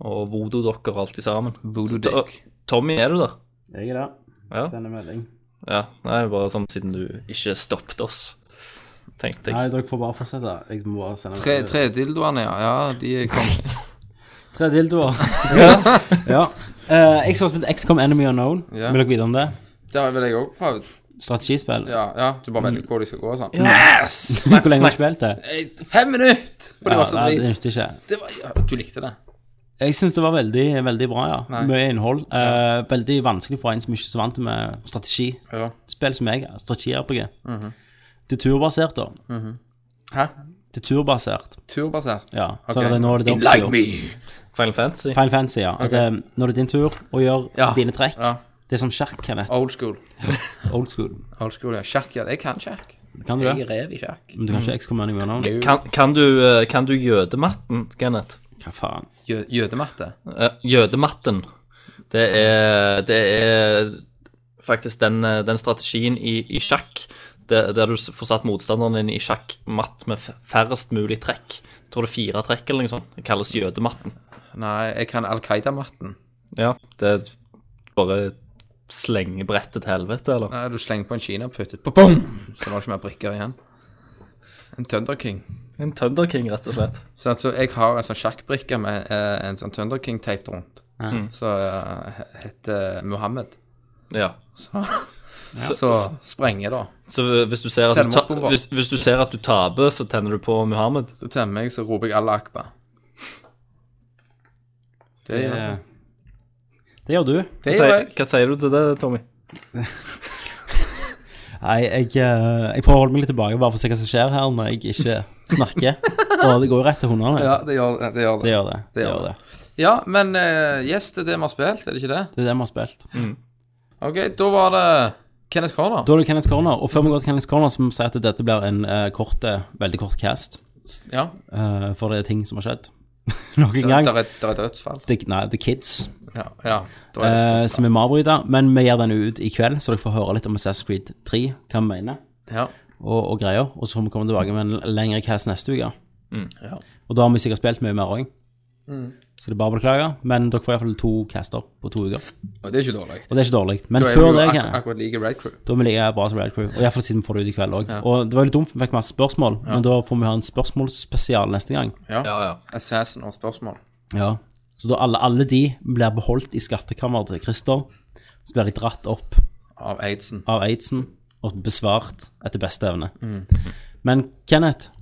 Speaker 7: Og voodoo-dokker og alt i sammen.
Speaker 1: Voodoo
Speaker 7: Så,
Speaker 1: dick.
Speaker 7: Tommy, er du der?
Speaker 6: Jeg er det.
Speaker 7: Ja.
Speaker 6: Sender melding.
Speaker 7: Ja. Nei, bare sånn siden du ikke stoppet oss, tenkte jeg.
Speaker 6: Nei, dere får bare fortsette. Jeg må bare sende
Speaker 1: Tre, tre dildoene, ja. ja de kom.
Speaker 6: Tre dildoer. ja. Eh, jeg skal spille XCOM Enemy Unknown.
Speaker 1: Ja.
Speaker 6: Vil dere vite om det?
Speaker 1: Det har vel jeg òg prøvd.
Speaker 6: Strategispill.
Speaker 1: Ja, ja, du bare velger hvor de skal gå og sånn.
Speaker 6: Hvor lenge har du spilt det?
Speaker 1: Nei, Fem minutter! Og det var så
Speaker 6: nei, det
Speaker 1: drit.
Speaker 6: nytter ikke.
Speaker 1: Det var, ja, du likte det.
Speaker 6: Jeg syns det var veldig, veldig bra, ja.
Speaker 1: Nei.
Speaker 6: Mye innhold. Eh, veldig vanskelig for en som ikke er så vant med strategispill
Speaker 1: Ja.
Speaker 6: som jeg. Strategi-RPG.
Speaker 1: Mhm.
Speaker 6: Det er turbasert, da.
Speaker 1: Hæ?
Speaker 6: Det er turbasert,
Speaker 1: Turbasert?
Speaker 6: ja. Så
Speaker 1: Ok.
Speaker 6: er det, nå er det din tur.
Speaker 7: Final Fantasy.
Speaker 6: Final Fantasy, ja. At, eh, nå er det din tur å gjøre
Speaker 1: Ja.
Speaker 6: dine trekk.
Speaker 1: Ja.
Speaker 6: Det er som sjakk, Kenneth.
Speaker 1: Old school.
Speaker 6: Old school.
Speaker 1: Old school, ja. Sjakk, ja. Jeg kan sjakk.
Speaker 6: Kan du
Speaker 1: Jeg
Speaker 6: det?
Speaker 1: er rev i sjakk.
Speaker 6: Men du kan ikke ekskommunere noe annet?
Speaker 7: Kan, kan, du, eh, kan du jødematten, Kenneth?
Speaker 6: Hva faen?
Speaker 1: Jø- Jødematte.
Speaker 7: Eh, jødematten. Det er, det er faktisk den, eh, den strategien i, i sjakk der, der du s- får satt motstanderen din i sjakkmatt med f- færrest mulig trekk. Jeg tror det er fire trekk eller noe sånt. Det kalles jødematten.
Speaker 1: Nei, jeg kan Al Qaida-matten.
Speaker 7: Ja, det er bare slenge brettet til helvete, eller?
Speaker 1: Nei, du slenger på en kinaputtet. Bom! Så var det ikke mer brikker igjen. En Thunder King.
Speaker 7: En Thunder King, rett og slett.
Speaker 1: Så altså, jeg har en sånn sjakkbrikke med eh, en sånn Thunder King tapet rundt.
Speaker 6: Ja.
Speaker 1: Så eh, heter Mohammed.
Speaker 7: Ja.
Speaker 1: Så, så sprenger da.
Speaker 7: Så hvis du ser at du, ta,
Speaker 1: Selvmordsbomber.
Speaker 7: hvis, hvis du, ser at du taper, så tenner du på Muhammed.
Speaker 1: Så temmer jeg, så roper jeg Allah Akbar. Det gjør jeg.
Speaker 6: Det gjør du.
Speaker 1: Det
Speaker 7: Hva
Speaker 1: gjør
Speaker 7: sier,
Speaker 1: jeg.
Speaker 7: hva sier du til det, Tommy?
Speaker 6: Nei, jeg, eh, jeg prøver å holde meg litt tilbake bare for å se hva som skjer her når jeg ikke snakker. Og det går jo rett til hundene.
Speaker 1: Ja, det gjør det. Gjør
Speaker 6: Det
Speaker 1: det.
Speaker 6: gjør det. det,
Speaker 1: gjør
Speaker 6: gjør det.
Speaker 1: Ja, men eh, yes, det er det vi har spilt, er det ikke det?
Speaker 6: det er det vi har spilt.
Speaker 1: Ok, da var det Kenneth Corner.
Speaker 6: Da er det Kenneth Corner, og før vi går til Kenneth Corner, så må vi si at dette blir en eh, kort, eh, veldig kort cast.
Speaker 1: Ja,
Speaker 6: eh, for det er ting som har skjedd. Nok en
Speaker 1: der,
Speaker 6: gang.
Speaker 1: der, er, der er dødsfall.
Speaker 6: The, nei, The Kids,
Speaker 1: Ja, ja. da er det
Speaker 6: eh,
Speaker 1: dødsfall.
Speaker 6: som vi må avbryte. Men vi gir den ut i kveld, så dere får høre litt om Assassin's Creed 3, hva vi mener,
Speaker 1: Ja.
Speaker 6: og, og greier. Og så får vi komme tilbake med en lengre cast neste uke.
Speaker 1: Ja. Mm.
Speaker 6: Og da har vi sikkert spilt mye mer òg. Så det er bare å beklage. Men dere får iallfall to caster på to uker.
Speaker 1: Og det er ikke dårlig.
Speaker 6: Og det er ikke dårlig. Men
Speaker 1: Da er vi
Speaker 6: før
Speaker 1: jo
Speaker 6: det,
Speaker 1: ak
Speaker 6: Kenneth
Speaker 1: akkurat like Red Crew.
Speaker 6: Da er vi like bra som Red Crew. Og iallfall siden vi får det ut i kveld òg. Og det var jo litt dumt, for vi fikk masse spørsmål, men da får vi ha en spørsmålsspesial neste gang.
Speaker 1: Ja.
Speaker 7: ja.
Speaker 1: Assassin og spørsmål.
Speaker 6: Ja. Så da alle, alle de blir beholdt i skattkammeret til Christer. Så blir de dratt opp
Speaker 1: Av Aidsen.
Speaker 6: av aidsen og besvart etter beste evne.
Speaker 1: Mm.
Speaker 6: Men Kenneth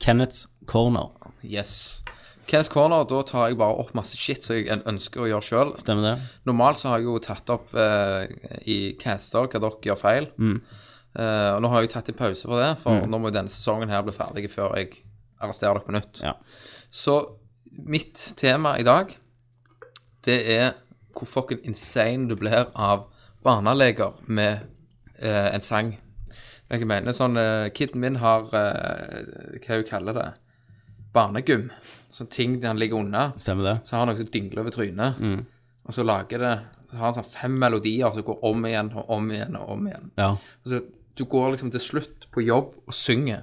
Speaker 6: Kenneths corner,
Speaker 1: Yes. Kenneth Corner, da tar jeg bare opp masse shit som jeg ønsker å gjøre sjøl.
Speaker 6: stemmer det?
Speaker 1: Normalt så har jeg jo tatt opp eh, i caster hva dere gjør feil. Eh, og nå har jeg tatt en pause fra det, for nå må jo denne sesongen her bli ferdig før jeg arresterer dere på nytt.
Speaker 6: Ja.
Speaker 1: Så mitt tema i dag, det er hvor fucking insane du blir av barneleker med eh, en sang. Jeg mener sånn uh, Kiden min har eh, hva hun kaller det, barnegym. Sånne ting der han ligger unna.
Speaker 6: Stemmer det?
Speaker 1: Så har han noe som dingler over trynet.
Speaker 6: Mm.
Speaker 1: Og så lager det Så har han sånn fem melodier som går om igjen og om igjen og om igjen.
Speaker 6: Ja.
Speaker 1: Og så du går liksom til slutt på jobb og synger.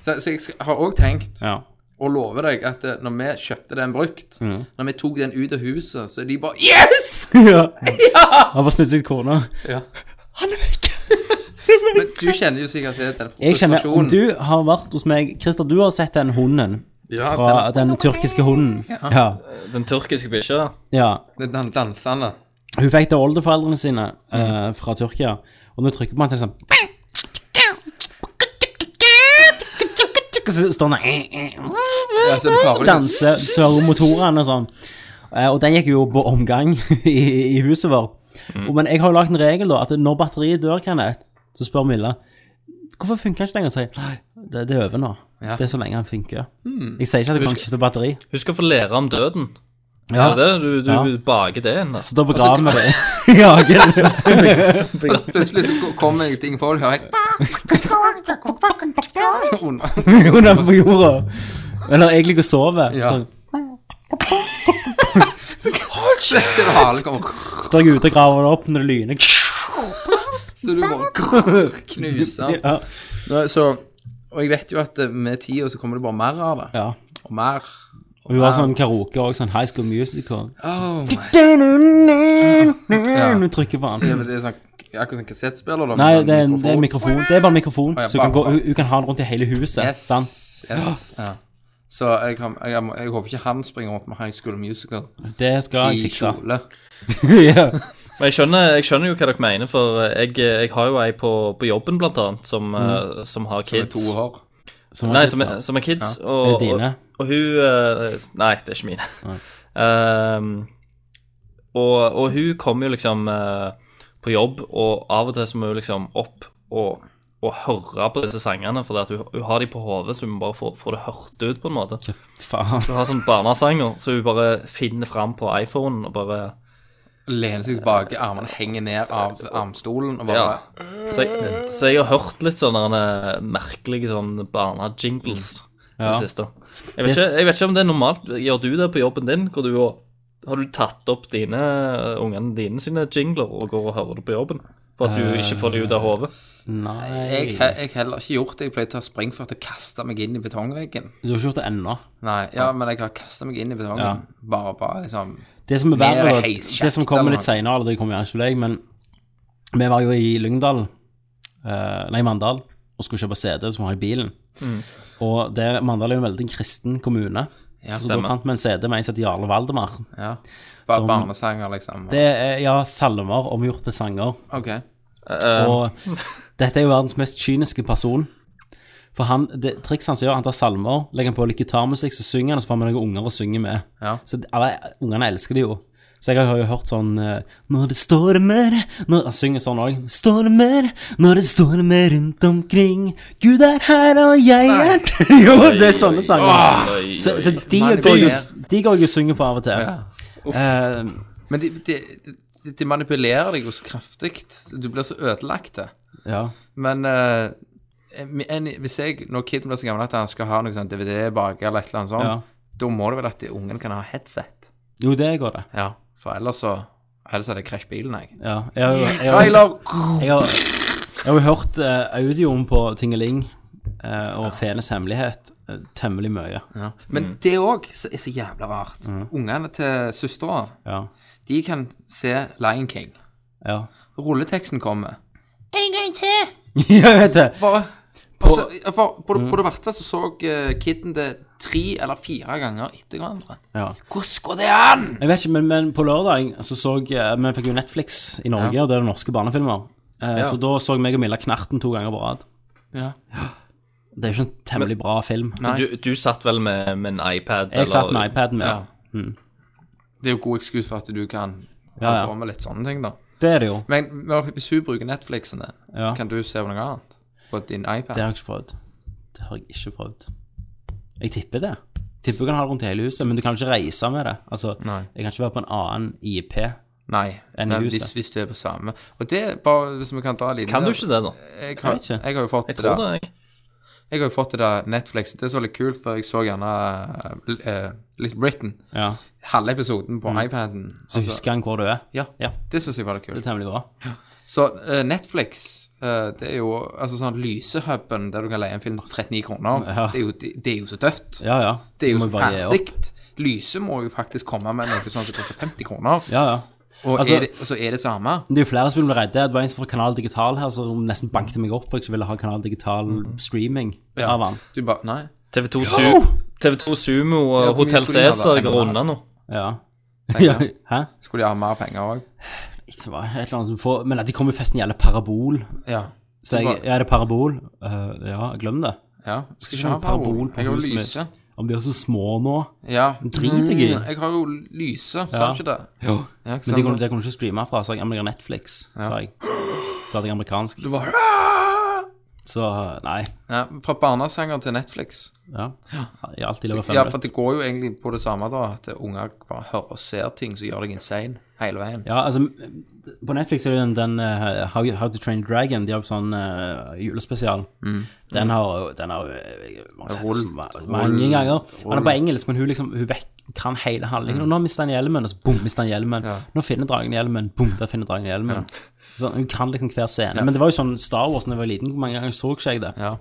Speaker 1: Så, så jeg skal- har òg tenkt,
Speaker 6: ja.
Speaker 1: og lover deg, at eh, når vi kjøpte den brukt,
Speaker 6: Mm.
Speaker 1: når vi tok den ut av huset, så er de bare Yes!
Speaker 6: ja. Han bare snudde seg til kona.
Speaker 1: Ja.
Speaker 6: Han er vekk!
Speaker 1: Men du kjenner jo sikkert til den
Speaker 6: Jeg kjenner, om
Speaker 1: frustrasjonen.
Speaker 6: du har vært hos meg Christer, du har sett den hunden.
Speaker 1: Ja,
Speaker 6: Fra den, tyrkiske hunden. Ja.
Speaker 7: Den tyrkiske bikkja?
Speaker 6: ja.
Speaker 1: den, den dansende.
Speaker 6: Hun fikk det av oldeforeldrene sine eh, fra Tyrkia, og når du trykker på den, så er det sånn Så står den
Speaker 1: Ja, så det
Speaker 6: og
Speaker 1: bare-
Speaker 6: danser, surrer motorene og sånn. Eh, og den gikk jo på omgang i, i huset vårt.
Speaker 1: Mm.
Speaker 6: Og, men jeg har jo lagt en regel, da, at når batteriet dør, Kenneth, så spør Milla Hvorfor funker den ikke lenger? Så sier jeg nei, det, det er over nå.
Speaker 1: Ja. Mm.
Speaker 6: Det er så lenge den funker. Jeg sier ikke at jeg kan
Speaker 7: Husk-
Speaker 6: skifte batteri.
Speaker 7: Husk å få lære om døden.
Speaker 6: Ja.
Speaker 7: Er det det? Du, du
Speaker 6: Ja.
Speaker 7: baker det inn. Altså.
Speaker 6: Så da begraver vi det. ja, ok.
Speaker 1: Plutselig så kommer jeg ting for hører jeg Under-
Speaker 6: Under på jorda. Eller jeg ligger og sover.
Speaker 1: Ja.
Speaker 6: Sånn.
Speaker 1: Så ser du halen kommer
Speaker 6: Står jeg ute og graver det opp når det lyner.
Speaker 1: Så du bare knuser den.
Speaker 6: Ja.
Speaker 1: Nå, Så Og jeg vet jo at eh, med tida så kommer det bare mer av det.
Speaker 6: ja.
Speaker 1: Og mer.
Speaker 6: Og hun har sånn karaoke og sånn High School Musical.
Speaker 1: Oh, my-
Speaker 6: Du trykker på
Speaker 1: Ja,
Speaker 6: den.
Speaker 1: men det er sånn Akkurat som kassettspiller, da.
Speaker 6: Nei,
Speaker 1: med
Speaker 6: det er, en,
Speaker 1: mikrofon.
Speaker 6: det er en mikrofon. Det er bare en mikrofon,
Speaker 1: ja,
Speaker 6: så hun kan, gå,
Speaker 1: bare-
Speaker 6: hun, hun kan ha den rundt i hele huset.
Speaker 1: Yes.
Speaker 6: Sant?
Speaker 1: yes ja. Så jeg, kan, jeg, jeg, må- jeg håper ikke han springer rundt med High School Musical
Speaker 6: Det skal jeg
Speaker 1: i
Speaker 6: fikse.
Speaker 1: kjole.
Speaker 6: ja.
Speaker 7: Men jeg skjønner, jeg skjønner jo hva dere mener, for eh, jeg, jeg har jo ei på, på jobben, blant annet, som,
Speaker 6: Mm.
Speaker 7: eh, som har
Speaker 1: Med
Speaker 7: kids.
Speaker 1: to hår.
Speaker 6: Som
Speaker 7: Nei,
Speaker 6: er
Speaker 7: som,
Speaker 6: litt
Speaker 7: er-
Speaker 6: sånn.
Speaker 7: som er kids. Og,
Speaker 6: Er det dine?
Speaker 7: Og, og hun eh, Nei, det er ikke mine. Ehm, og, og hun kommer jo liksom eh, på jobb, og av og til så må hun liksom opp og, og høre på disse sangene, for hun, hun har de på hodet, så hun bare får, får det hørt ut, på en måte.
Speaker 6: Faen.
Speaker 7: Hun har sånne barnesanger, så hun bare finner fram på iPhonen og bare
Speaker 1: Lener seg tilbake, armene henger ned av armstolen og bare
Speaker 7: Ja. Så jeg, så jeg har hørt litt sånne eh, merkelige sånne sånn barnejingles
Speaker 6: Ja.
Speaker 7: det siste. Jeg vet, ikke, jeg vet ikke om det er normalt. Gjør du det på jobben din? Hvor du og, har du tatt opp dine, eh, ungene dine sine jingler og går og hører det på jobben? For at du
Speaker 6: Eh,
Speaker 7: ikke får det ut av hodet?
Speaker 1: Jeg
Speaker 6: Nei
Speaker 1: har jeg heller ikke gjort det. Jeg pleier å ta springfart og kaste meg inn i betongveggen.
Speaker 6: Du har ikke gjort det ennå.
Speaker 1: Nei, ja, men jeg har kasta meg inn i betongen.
Speaker 6: Ja.
Speaker 1: Bare, bare liksom
Speaker 6: Det som er
Speaker 1: Mer
Speaker 6: verre, da,
Speaker 1: heiskjekt,
Speaker 6: det som kommer
Speaker 1: eller
Speaker 6: litt
Speaker 1: noe.
Speaker 6: seinere, det kommer gjerne ikke til deg, men vi var jo i Lyngdal, eh, nei, Mandal, og skulle kjøpe CD som vi har i bilen. Og der, Mandal er jo en veldig kristen kommune, så da
Speaker 7: stemmer.
Speaker 6: fant vi en CD med en som heter Jarle Valdemar.
Speaker 1: Ja. Bare
Speaker 6: Som-
Speaker 1: barnesanger, liksom.
Speaker 6: Det er ja, salmer omgjort til sanger,
Speaker 1: OK.
Speaker 7: Eh,
Speaker 6: og dette er jo verdens mest kyniske person. For han, det, trikset hans er jo han tar salmer, legger han på litt gitarmusikk, så synger han, og så får vi noen unger å synge med.
Speaker 1: Ja.
Speaker 6: Så de- alle ungene elsker det jo. Så jeg har jo hørt sånn eh, Når det stormer når, Han synger sånn òg. Stormer når det stormer rundt omkring. Gud er her, og jeg er der». Jo, det er sånne sanger.
Speaker 7: oi, oi,
Speaker 6: Så, så
Speaker 7: oi.
Speaker 6: de
Speaker 1: Mann,
Speaker 6: går jo
Speaker 1: det
Speaker 6: de går jo og synger på av og til.
Speaker 1: Ja.
Speaker 6: Eh,
Speaker 1: Men de, de, de, de manipulerer deg jo så kraftig. Du blir så ødelagt. det.
Speaker 6: ja.
Speaker 1: Men eh, en, en, hvis jeg, når kiden blir så gammel at han skal ha noe sånn DVD bak eller et eller annet sånt,
Speaker 6: Ja.
Speaker 1: da må det vel at de- ungen kan ha headset.
Speaker 6: Jo, det går, det.
Speaker 1: Ja, for ellers så Ellers er det krasj bilen, jeg.
Speaker 6: Ja. Jeg har jo jeg har,
Speaker 1: Trailer!
Speaker 6: jeg har, jeg har jo hørt eh, audioen på Tingeling eh, og Fenes hemmelighet eh, temmelig mye.
Speaker 1: Ja. Men det òg er så jævla rart.
Speaker 6: Mm.
Speaker 1: Ungene til søstera,
Speaker 6: Ja.
Speaker 1: de kan se Lion King.
Speaker 6: Ja.
Speaker 1: Rulleteksten kommer.
Speaker 6: jeg vet det.
Speaker 1: Bare og så- for, på,
Speaker 6: Mm.
Speaker 1: det- på det verste så så eh, kiden det tre eller fire ganger etter hverandre.
Speaker 6: Ja.
Speaker 1: Hvordan går det an?!
Speaker 6: Jeg vet ikke, men, men på lørdag så så eh, Vi fikk jo Netflix i Norge,
Speaker 1: Ja.
Speaker 6: og det er norske barnefilmer. Eh, Så da så meg og Milla Knerten to ganger på rad.
Speaker 1: Ja.
Speaker 6: Det er jo ikke en temmelig bra film.
Speaker 1: Nei.
Speaker 7: Du, du satt vel med, med en iPad?
Speaker 6: Jeg satt med iPaden min.
Speaker 1: Ja.
Speaker 6: Ja. Mm.
Speaker 1: Det er jo god ekskuse for at du kan
Speaker 6: Ja, ja.
Speaker 1: holde på med litt sånne ting, da.
Speaker 6: Det er det jo.
Speaker 1: Men når- hvis hun bruker Netflixen din,
Speaker 6: Ja.
Speaker 1: kan du se på noe annet? På din
Speaker 6: Det
Speaker 1: iPad?
Speaker 6: har jeg ikke prøvd. Det har jeg ikke prøvd. Jeg tipper det. Tipper du kan ha det rundt hele huset, men du kan ikke reise med det. Altså,
Speaker 1: Nei.
Speaker 6: Jeg kan ikke være på en annen IP.
Speaker 1: Nei.
Speaker 6: Enn i
Speaker 1: Men
Speaker 6: huset.
Speaker 1: hvis, hvis du er på samme Og det er bare Hvis vi kan ta en liten
Speaker 7: Kan du ikke det, da?
Speaker 1: Jeg har,
Speaker 6: Jeg vet ikke.
Speaker 1: jeg har jo fått
Speaker 7: Jeg
Speaker 1: det
Speaker 7: tror
Speaker 1: der.
Speaker 7: det, jeg.
Speaker 1: Jeg har jo fått det der Netflix. Det er så litt kult, for jeg så gjerne uh, litt Britain.
Speaker 6: Ja.
Speaker 1: Halve episoden på iPaden.
Speaker 6: Mm.
Speaker 1: Altså,
Speaker 6: Så husker han hvor du er.
Speaker 1: ja,
Speaker 6: Ja,
Speaker 1: det syns jeg var litt
Speaker 6: det er
Speaker 1: kult.
Speaker 6: temmelig bra.
Speaker 1: Så eh, Netflix, eh, det er jo altså sånn lysehuben der du kan leie en film for 39 kroner.
Speaker 6: Ja.
Speaker 1: Det, er jo, det, det er jo så dødt.
Speaker 6: Ja, ja.
Speaker 1: Det
Speaker 6: Du
Speaker 1: er jo
Speaker 6: må
Speaker 1: så
Speaker 6: bare gi opp.
Speaker 1: ferdig. Lyse må jo faktisk komme med noe sånt som koster 50 kroner.
Speaker 6: Ja, ja.
Speaker 1: Og
Speaker 6: Altså-
Speaker 1: er det, så er det samme.
Speaker 6: Men Det er jo flere som blir redde. Det var en som fra Kanal Digital her som nesten bankte meg opp for jeg ikke ville ha Kanal Digital streaming
Speaker 1: Mhm. Ja.
Speaker 6: av han.
Speaker 1: Du bare Nei.
Speaker 7: TV2, Su TV2 Sumo og
Speaker 1: Ja, hvor mye
Speaker 7: Hotell
Speaker 1: skulle de ha, da?
Speaker 7: Cæsar
Speaker 1: En
Speaker 7: går
Speaker 1: måned?
Speaker 7: unna nå.
Speaker 6: Ja. ja.
Speaker 1: Penger.
Speaker 6: Hæ?
Speaker 1: Skulle de ha mer penger òg?
Speaker 6: Det var et eller annet som får Men at de kommer jo festen gjelder parabol.
Speaker 1: Ja.
Speaker 6: Så
Speaker 1: Det
Speaker 6: jeg,
Speaker 1: var-
Speaker 6: ja, er det parabol? Eh, ja, glem det.
Speaker 1: ja. Skal
Speaker 6: ikke
Speaker 1: ikke
Speaker 6: ha
Speaker 1: ha parabol.
Speaker 6: parabol på
Speaker 1: Jeg har jo
Speaker 6: huset mitt.
Speaker 1: lyse.
Speaker 6: Om de er så små nå.
Speaker 1: Ja.
Speaker 6: Drit deg i.
Speaker 1: Mm, Jeg har jo lyse, sa
Speaker 6: Ja.
Speaker 1: du ikke det?
Speaker 6: Jo.
Speaker 1: Ja, ikke
Speaker 6: Men de
Speaker 1: sant?
Speaker 6: kunne, de kunne ikke streame herfra, sa jeg. Ja, Men jeg har Netflix, sa jeg. Da hadde jeg amerikansk.
Speaker 1: Du bare
Speaker 6: Så nei.
Speaker 1: ja, Fra barnesanger til Netflix.
Speaker 6: Ja. I alt i løpet av fem
Speaker 1: Ja, for
Speaker 6: minutter.
Speaker 1: det går jo egentlig på det samme, da. At unger bare hører og ser ting som gjør deg insane hele veien.
Speaker 6: Ja, altså, på Netflix er det den, den eh, How, You- How to Train Dragon, de har jo sånn eh, julespesial.
Speaker 1: Mm.
Speaker 6: Den har jo den har, jo, eh, man har sett
Speaker 1: Rull-
Speaker 6: så ma- mange
Speaker 1: rull-
Speaker 6: ganger. Han er på engelsk, men hun liksom, hun vekk, kan hele handlingen. Og nå mister han hjelmen, og så bom, mister han hjelmen.
Speaker 1: Mm. Ja.
Speaker 6: Nå finner dragen hjelmen, bom, der finner dragen hjelmen. Sånn, hun kan liksom hver scene. Men det var jo sånn Star Wars da jeg var liten, hvor mange ganger så ikke jeg det?
Speaker 1: Ja.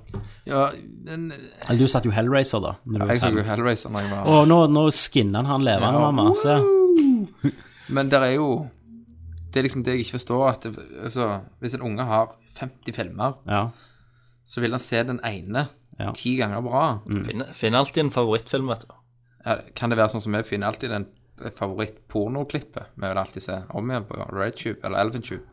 Speaker 1: ja men,
Speaker 6: Eller du satt jo Hellraiser da. når du var
Speaker 1: jeg så
Speaker 6: fem.
Speaker 1: jo Hellraiser da jeg var
Speaker 6: Og nå, nå skinner han han levende,
Speaker 1: Ja.
Speaker 6: mamma. Se.
Speaker 1: Men det er jo Det er liksom det jeg ikke forstår, at det, altså, hvis en unge har 50 filmer,
Speaker 6: Ja.
Speaker 1: så vil han se den ene
Speaker 6: Ja. Mm.
Speaker 1: ti ganger bra.
Speaker 7: Finn, finn alltid en favorittfilm, vet du.
Speaker 1: Ja, Kan det være sånn som vi finner alltid den eh, favorittpornoklippet vi vil alltid se om igjen på RedTube eller ElvenTube,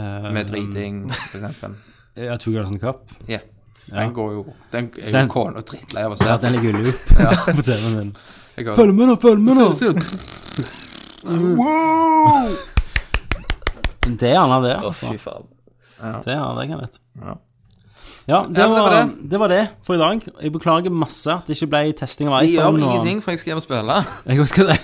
Speaker 6: Eh,
Speaker 1: med driting, for eksempel.
Speaker 6: ja, Two Girls and a Cup.
Speaker 1: Ja.
Speaker 6: Ja.
Speaker 1: Den går jo Den er jo
Speaker 6: Den-
Speaker 1: kona drittlei av å
Speaker 6: Ja,
Speaker 1: se.
Speaker 6: den ligger jo i loop på TV-en min.
Speaker 1: Jeg går-
Speaker 6: Følg med nå, følg med nå! Det er han av det,
Speaker 7: Å,
Speaker 6: altså.
Speaker 7: fy faen.
Speaker 6: Det er han av det, jeg vet.
Speaker 1: Ja.
Speaker 6: Ja, det
Speaker 1: Ja, det var
Speaker 6: var,
Speaker 1: det.
Speaker 6: det var det for i dag. Jeg beklager masse at det ikke ble testing av
Speaker 1: De gjør
Speaker 6: iPhone. og-
Speaker 1: ingenting, for jeg skal hjem og spille.
Speaker 6: Jeg også skal det.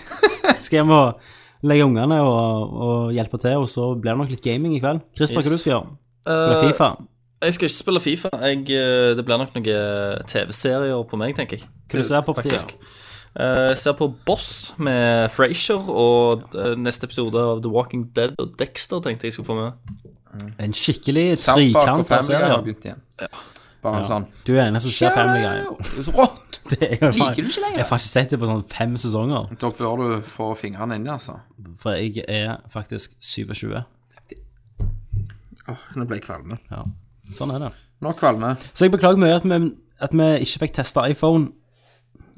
Speaker 6: Skal hjem og legge ungene og, og hjelpe til, og så blir det nok litt gaming i kveld. Christer, hva
Speaker 7: Yes.
Speaker 1: Eh,
Speaker 6: du skal gjøre? Spille Fifa?
Speaker 7: Eh, Jeg skal ikke spille Fifa. Jeg, eh, det blir nok noen eh, TV-serier på meg, tenker jeg.
Speaker 6: Hva du ser på på
Speaker 7: Faktisk.
Speaker 6: TV?
Speaker 7: Eh, Jeg ser på Boss med Frasier og eh, neste episode av The Walking Dead og Dexter tenkte jeg skulle få med.
Speaker 6: En skikkelig
Speaker 1: South Park og
Speaker 6: trikant av
Speaker 1: Family Guy har
Speaker 6: serier.
Speaker 1: begynt igjen. Bare en sånn
Speaker 6: Du er den eneste som ser Family Guy.
Speaker 1: Så Rått!
Speaker 6: Det er jo faen-
Speaker 1: Liker du ikke lenger?
Speaker 6: Jeg har faktisk sett det på sånn fem sesonger,
Speaker 1: Da bør du få fingrene inni, altså.
Speaker 6: for jeg er faktisk 27.
Speaker 1: Åh, nå ble jeg kvalme.
Speaker 6: Ja, sånn er det.
Speaker 1: Nå kvalme.
Speaker 6: Så jeg beklager mye at vi, at vi ikke fikk testa iPhone,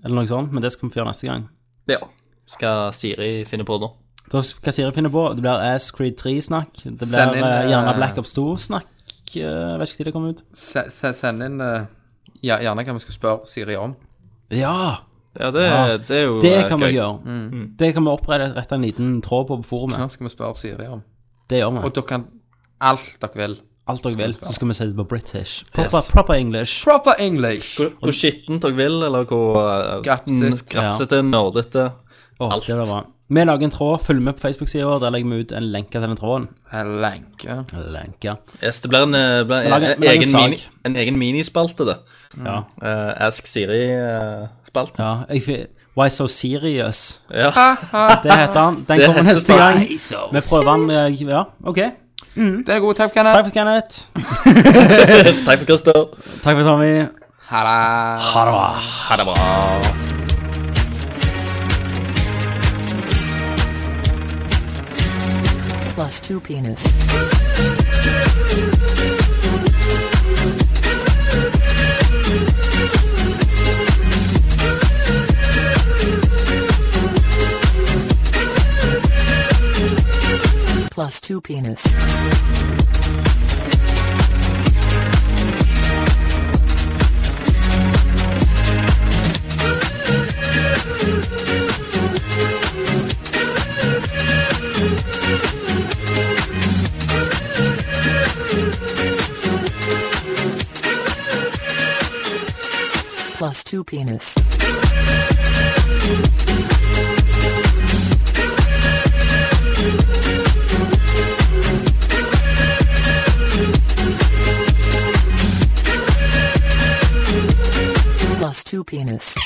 Speaker 6: eller noe sånt, men det skal vi få gjøre neste gang.
Speaker 7: Ja. Skal Siri finne på da?
Speaker 6: Da, hva Siri finner på? Det blir Ass Creed 3-snakk. Det blir
Speaker 1: Send inn,
Speaker 6: eh, gjerne
Speaker 1: eh,
Speaker 6: Black Ops 2-snakk. eh, vet ikke når det kommer ut.
Speaker 1: Se, se, send inn eh, ja, gjerne hva vi skal spørre Siri om.
Speaker 6: Ja!
Speaker 7: Ja, det,
Speaker 6: Ja.
Speaker 7: det er jo
Speaker 6: Det
Speaker 7: eh,
Speaker 6: kan vi
Speaker 7: gøy.
Speaker 6: gjøre.
Speaker 1: Mm.
Speaker 6: Det kan vi opprette rette en liten tråd på på forumet.
Speaker 1: Hva skal vi spørre Siri om?
Speaker 6: Det gjør vi.
Speaker 1: Og dere kan alt dere vil.
Speaker 6: Alt dere vil.
Speaker 1: vi spørre.
Speaker 6: Så skal vi sette det på British. Proper, proper English.
Speaker 1: Proper English!
Speaker 7: Hvor, hvor skittent dere vil, eller hvor eh,
Speaker 1: Grapset.
Speaker 7: mm, grapsete, nerdete
Speaker 6: Åh,
Speaker 7: alt.
Speaker 6: Det blir bra. Vi lager en tråd, følg med på Facebook-sida vår. Der legger vi ut en lenke til den tråden.
Speaker 1: Lenke.
Speaker 6: Lenke.
Speaker 7: Yes, det blir en, eh, blir en,
Speaker 6: lager- vi lager
Speaker 7: en,
Speaker 6: en
Speaker 7: egen,
Speaker 6: sag.
Speaker 7: mini, en egen minispalte, det.
Speaker 6: Ja.
Speaker 7: Eh, Ask eh, Siri-spalten.
Speaker 6: ja. Jeg, fi- Why So Serious?
Speaker 7: Ja.
Speaker 6: Det heter han. Den
Speaker 7: Det
Speaker 6: kommer
Speaker 7: heter
Speaker 6: neste gang. Vi prøver den. eh, Ja, OK.
Speaker 1: Det er god taukanne.
Speaker 6: Takk for Kenneth.
Speaker 7: Takk for Christer.
Speaker 6: Takk for Tommy.
Speaker 1: Ha det.
Speaker 7: Ha det bra.
Speaker 9: plus two penis. Plus two penis. Plus two penis. Plus two penis.